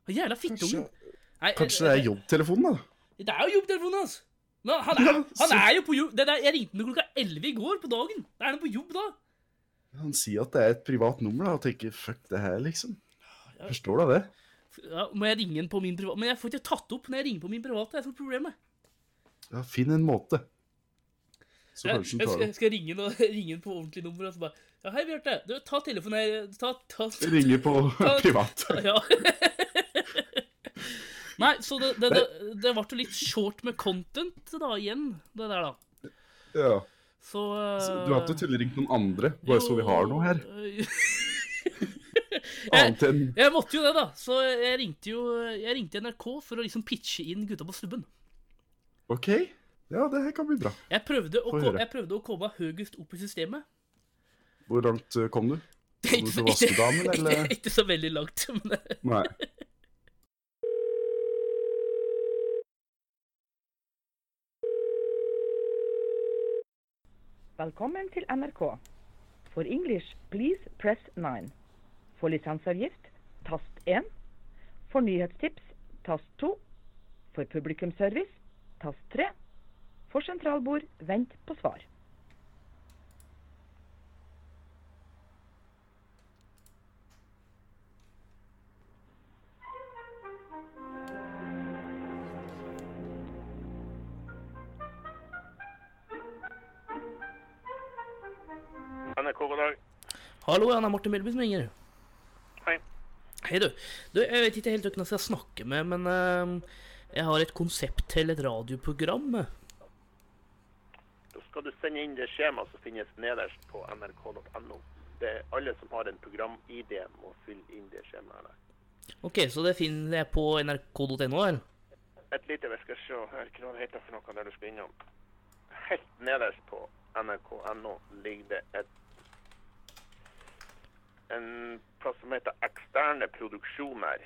Speaker 2: Han jævla fittungen.
Speaker 1: Kanskje,
Speaker 2: Nei, eh,
Speaker 1: kanskje det er jobbtelefonen, da.
Speaker 2: Det er jo jobbtelefonen hans. Men han er,
Speaker 1: Ja,
Speaker 2: han
Speaker 1: så-
Speaker 2: er jo på jobb. Det der, jeg ringte ham klokka 11 i går på dagen. Da er han på jobb da.
Speaker 1: Han sier at det er et privat nummer, da, og tenker fuck det her, liksom. Forstår du det?
Speaker 2: Ja, må jeg ringe han på min private Men jeg får ikke tatt opp når jeg ringer på min private. Det er så problemet.
Speaker 1: Ja, finn en måte. Så
Speaker 2: Jeg,
Speaker 1: kanskje
Speaker 2: jeg, skal,
Speaker 1: han tar det.
Speaker 2: jeg skal ringe han og- *laughs* ringe han på ordentlig nummer og så bare Ja, hei, Bjarte. Du, ta telefonen her. Ta, ta, ta,
Speaker 1: Ringer på privat.
Speaker 2: *laughs* Ja. *laughs* Nei, så det, det, det, det ble jo litt short med content da igjen, det der, da.
Speaker 1: Ja.
Speaker 2: Så eh,
Speaker 1: Så du har ikke tulleringt noen andre, bare så vi har noe her? Annet enn
Speaker 2: *laughs* Jeg måtte jo det, da. Så jeg ringte jo jeg ringte NRK for å liksom pitche inn gutta på stubben.
Speaker 1: OK? Ja, det her kan bli bra.
Speaker 2: Jeg prøvde å,
Speaker 1: Få
Speaker 2: ko
Speaker 1: høre.
Speaker 2: jeg prøvde å komme høyest opp i systemet.
Speaker 1: Hvor langt eh, kom du? Kom du
Speaker 2: Ikke så-
Speaker 1: til vaskedamen,
Speaker 2: *laughs* ikke,
Speaker 1: eller?
Speaker 2: ikke så veldig langt, men
Speaker 1: Nei.
Speaker 7: Velkommen til NRK. For English, please press 9. For lisensavgift, tast 1. For nyhetstips, tast 2. For publikumsservice, tast 3. For sentralbord, vent på svar.
Speaker 8: god dag.
Speaker 2: Hallo, ja, det er Martin Melby som ringer.
Speaker 8: Hei.
Speaker 2: Hei, du. du. Jeg vet ikke helt hvem jeg skal snakke med, men eh, jeg har et konsept til et radioprogram.
Speaker 8: Da skal du sende inn det skjemaet som finnes nederst på nrk.no. Det er alle som har en program-ID, må fylle inn det skjemaet. der.
Speaker 2: Ok, så det finner jeg på nrk.no, eller?
Speaker 8: Et lite vi skal se her, hva det heter for noe der du skal innom. Helt nederst på nrk.no ligger det et en plass som heter eksterne produksjoner.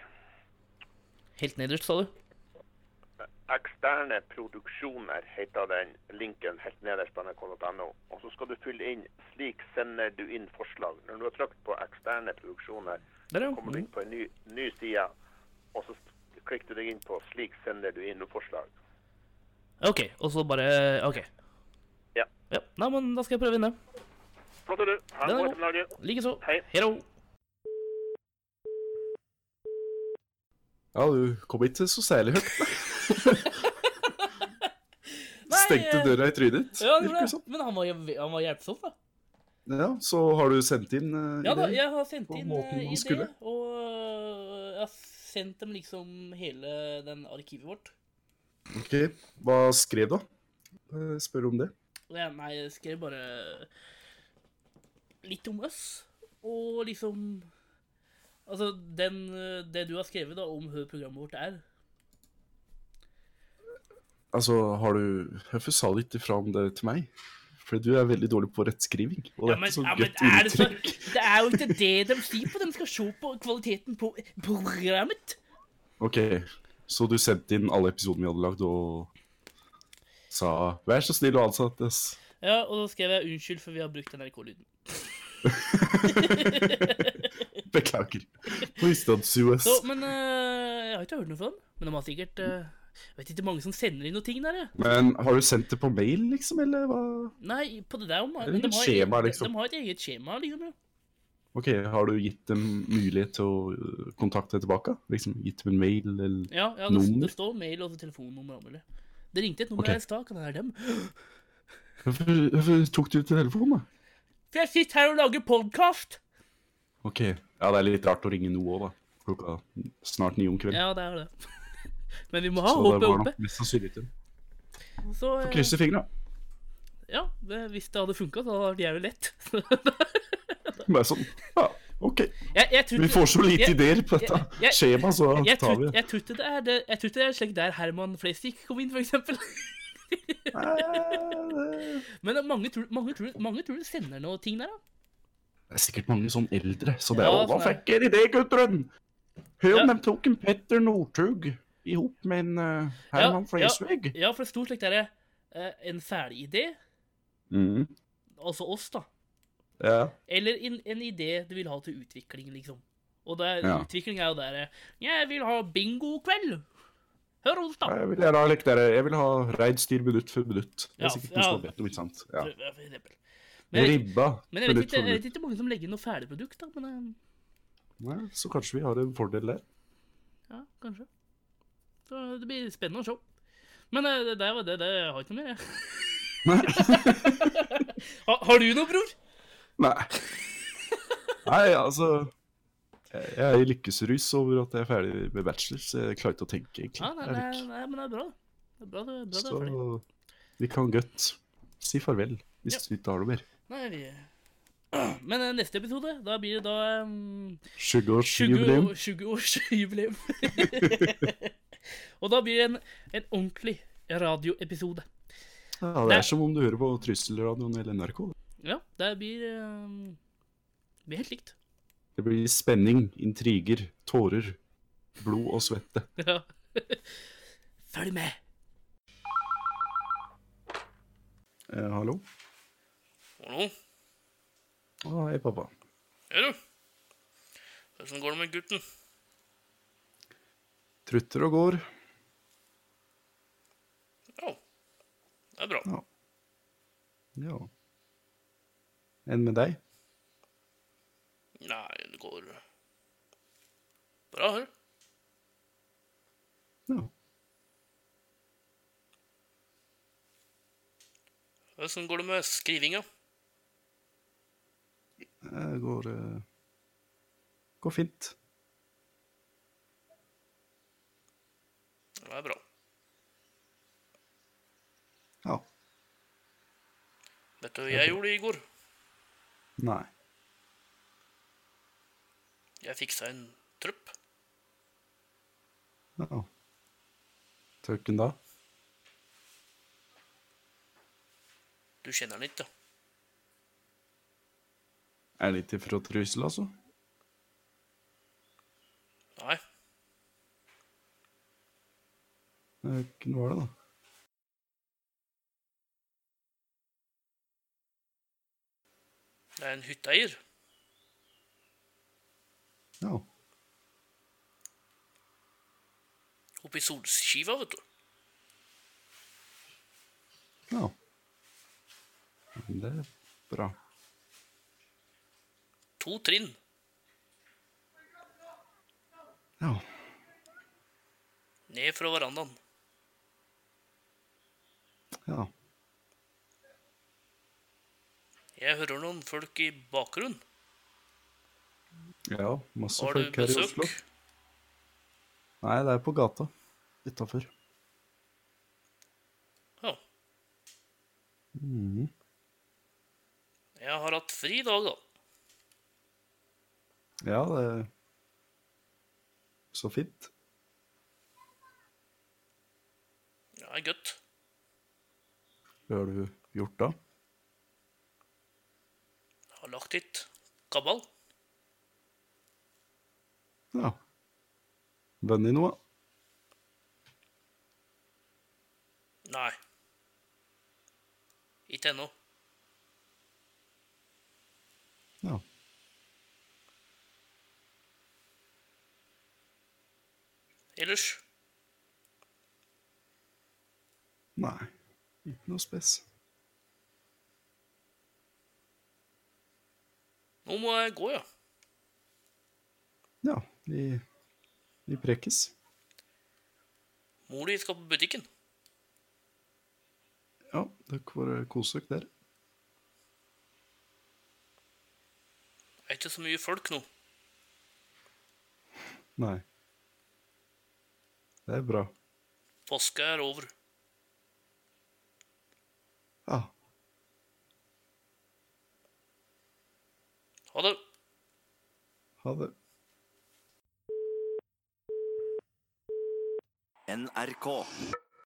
Speaker 2: Helt nederst, sa du?
Speaker 8: Eksterne produksjoner heter den linken helt nederst på nrk.no. Og så skal du fylle inn 'slik sender du inn forslag'. Når du har trykt på 'eksterne produksjoner',
Speaker 2: Der, ja. Mm.
Speaker 8: kommer du inn på en ny, ny side, og så s- klikker du deg inn på 'slik sender du inn forslag'.
Speaker 2: Ok, og så bare Ok.
Speaker 8: Ja.
Speaker 2: ja. Nei, men da skal jeg prøve inn det.
Speaker 8: Flott, du. Ha
Speaker 2: Den
Speaker 8: en
Speaker 2: er
Speaker 8: god
Speaker 2: god.
Speaker 8: ettermiddag.
Speaker 2: Likeså.
Speaker 8: Hei.
Speaker 2: Hello.
Speaker 1: Ja, du kom ikke så særlig høyt.
Speaker 2: *laughs* Nei,
Speaker 1: Stengte
Speaker 2: eh,
Speaker 1: døra i trynet ditt.
Speaker 2: Ja, det
Speaker 1: virker
Speaker 2: gjorde det.
Speaker 1: det sånn? som.
Speaker 2: Men han var, jo- han var hjelpsom, da.
Speaker 1: Ja, så har du sendt inn uh,
Speaker 2: Ja da, jeg har sendt
Speaker 1: På
Speaker 2: inn
Speaker 1: måten
Speaker 2: eh,
Speaker 1: man
Speaker 2: ideer,
Speaker 1: skulle.
Speaker 2: og eh, jeg har sendt dem liksom hele den arkivet vårt.
Speaker 1: Ok, hva skrev du? Eh, Spør om det.
Speaker 2: Og jeg, nei, jeg skrev bare litt om oss, og liksom Altså, den, eh, det du har skrevet da, om hva programmet vårt er.
Speaker 1: Altså, har du Hvorfor sa du ikke fra om det til meg? For du er veldig dårlig på rettskriving. Og
Speaker 2: Ja,
Speaker 1: det er
Speaker 2: men,
Speaker 1: ikke så
Speaker 2: ja, men
Speaker 1: godt
Speaker 2: er det, så,
Speaker 1: uttrykk.
Speaker 2: det er jo ikke det de sier på. De skal se på kvaliteten på programmet.
Speaker 1: Ok, så du sendte inn alle episodene vi hadde lagd, og sa 'vær så snill og ansatt oss'. *laughs*
Speaker 2: Ja, og da skrev jeg 'unnskyld for vi har brukt NRK-lyden'.
Speaker 1: Beklager. Please don't sue us.
Speaker 2: Så, men eh, jeg har ikke hørt noe fra dem. Men de har sikkert eh, Jeg vet ikke mange som sender inn noe ting der, jeg.
Speaker 1: Men har du sendt det på mail, liksom, eller hva?
Speaker 2: Nei, på det der om
Speaker 1: Det er ikke et skjema, liksom.
Speaker 2: De, de har et eget skjema, liksom. ja.
Speaker 1: Ok, har du gitt dem mulighet til å øh, kontakte tilbake? Liksom gitt dem en mail, eller
Speaker 2: Ja, ja det,
Speaker 1: Nummer?
Speaker 2: det står mail og så telefonnummer og alt mulig. Det ringte et nummer
Speaker 1: Ok.
Speaker 2: her i stad. Kan det være dem?
Speaker 1: Hvorfor, hvorfor tok du til telefonen, da?
Speaker 2: For jeg sitter her og lager podkast!
Speaker 1: Ok, ja, det er litt rart å ringe nå òg, da. Klokka snart ni om kvelden.
Speaker 2: Ja, det er det. *laughs* Men vi må ha
Speaker 1: så
Speaker 2: håpet
Speaker 1: det var
Speaker 2: oppe.
Speaker 1: nok mest sannsynlig ikke.
Speaker 2: Så eh,
Speaker 1: Krysse fingra.
Speaker 2: ja, det- hvis det hadde funka, så hadde det vært jævlig *laughs* lett.
Speaker 1: Bare sånn. Ja, OK.
Speaker 2: jeg, jeg tror
Speaker 1: Vi får så lite
Speaker 2: jeg-
Speaker 1: ideer på dette
Speaker 2: jeg-
Speaker 1: skjemaet, så
Speaker 2: Jeg
Speaker 1: tar vi
Speaker 2: tror-
Speaker 1: det.
Speaker 2: jeg tror ikke det er det Jeg tror ikke det er slik der Herman Flesvig kom inn, for eksempel. *laughs*
Speaker 1: Eh,
Speaker 2: Men mange tror, mange, tror, mange tror det sender noe ting der, da.
Speaker 1: Det er sikkert mange sånn eldre, så det er
Speaker 2: Ja,
Speaker 1: jo Hva
Speaker 2: sånn er det.
Speaker 1: fikk jeg i det, Gudrun? Hør
Speaker 2: Ja.
Speaker 1: om de tok en Petter Northug i hop med en eh, Herman Flesvig.
Speaker 2: Ja, for det sto slik der eh, En ferdig idé,
Speaker 1: Mm,
Speaker 2: altså oss, da.
Speaker 1: ja.
Speaker 2: Eller en, en idé du vil ha til utvikling, liksom. Og det,
Speaker 1: Ja.
Speaker 2: utvikling er jo der eh, Jeg vil ha bingo-kveld! Hør oss, da!
Speaker 1: Jeg vil gjerne ha lekt dere. Jeg vil ha reinsdyr minutt for minutt. Det
Speaker 2: Ja,
Speaker 1: er sikkert
Speaker 2: ja.
Speaker 1: noe som er bedt om, ikke sant? Ja.
Speaker 2: For- for eksempel. Men, jeg-
Speaker 1: Ribba
Speaker 2: men jeg, vet
Speaker 1: minutt
Speaker 2: ikke,
Speaker 1: for
Speaker 2: jeg vet
Speaker 1: minutt.
Speaker 2: ikke mange som legger inn noe ferdigprodukt, da. Men eh,
Speaker 1: Nei, så kanskje vi har en fordel der.
Speaker 2: ja, kanskje. Så det blir spennende å se. Men eh, det der var det. *laughs* det jeg har ikke noe mer, jeg. ha, har du noe, bror?
Speaker 1: Nei. Nei, altså Jeg jeg er i lykkesrus over at jeg er ferdig med bachelor, så jeg klarer ikke å tenke, egentlig.
Speaker 2: Ja, nei,
Speaker 1: Jeg er
Speaker 2: nei,
Speaker 1: lykkelig.
Speaker 2: nei, men det er bra. Det er bra, det, bra, det er ferdig.
Speaker 1: Så vi kan godt si farvel hvis du ikke har noe mer.
Speaker 2: Nei, vi... *clears throat* Men eh, neste episode, da blir det da um,
Speaker 1: 20-årsjubileum.
Speaker 2: *laughs* 20-årsjubileum. og da blir det en, en ordentlig radioepisode.
Speaker 1: Ja, det er som om du hører på Trusselradioen eller NRK.
Speaker 2: Ja, det blir um, Det blir helt likt. *laughs*
Speaker 1: Det blir spenning, intriger, tårer, blod og svette.
Speaker 2: Ja. Følg med.
Speaker 1: Eh, hallo?
Speaker 2: Hallo.
Speaker 1: Å, hei, pappa.
Speaker 2: Hei, du. Åssen går det med gutten?
Speaker 1: Trutter og går.
Speaker 2: Ja, det er bra.
Speaker 1: Ja. Enn med deg?
Speaker 2: Nei, det går bra, her.
Speaker 1: Ja.
Speaker 2: Åssen går det med skrivinga?
Speaker 1: Det går, eh, går fint.
Speaker 2: Det var bra.
Speaker 1: Ja.
Speaker 2: Vet du hva jeg gjorde i går?
Speaker 1: Nei.
Speaker 2: Jeg fiksa en trupp.
Speaker 1: Ja. Tøkken da?
Speaker 2: Du kjenner den ikke, da.
Speaker 1: Er litt ifra Trysil, altså?
Speaker 2: Nei.
Speaker 1: Hvem var det, da?
Speaker 2: Det er en hytteeier.
Speaker 1: Ja.
Speaker 2: Oppe i Solskiva, vet du.
Speaker 1: Ja. Men Det er bra.
Speaker 2: To trinn.
Speaker 1: Ja.
Speaker 2: Ned fra verandaen.
Speaker 1: Ja.
Speaker 2: Jeg hører noen folk i bakgrunnen.
Speaker 1: Ja, masse
Speaker 2: Har du
Speaker 1: folk her i
Speaker 2: besøk?
Speaker 1: Oslo. Nei, det er på gata. Utafor.
Speaker 2: Ja. Jeg har hatt fri i dag, da.
Speaker 1: Ja, det er så fint.
Speaker 2: Ja, det er godt.
Speaker 1: Hva har du gjort da?
Speaker 2: Jeg har lagt litt kabal.
Speaker 1: Ja. Bønn i noe?
Speaker 2: Nei. Ikke ennå.
Speaker 1: Ja.
Speaker 2: Ellers
Speaker 1: Nei. Ikke noe spes.
Speaker 2: Nå må jeg gå, ja.
Speaker 1: Ja, vi, vi prekkes.
Speaker 2: Mor di skal på butikken.
Speaker 1: Ja, dere får kose dere der.
Speaker 2: Det er ikke så mye folk nå.
Speaker 1: Nei. Det er bra.
Speaker 2: Påska er over.
Speaker 1: Ja.
Speaker 2: Ha det.
Speaker 1: Ha det.
Speaker 5: NRK.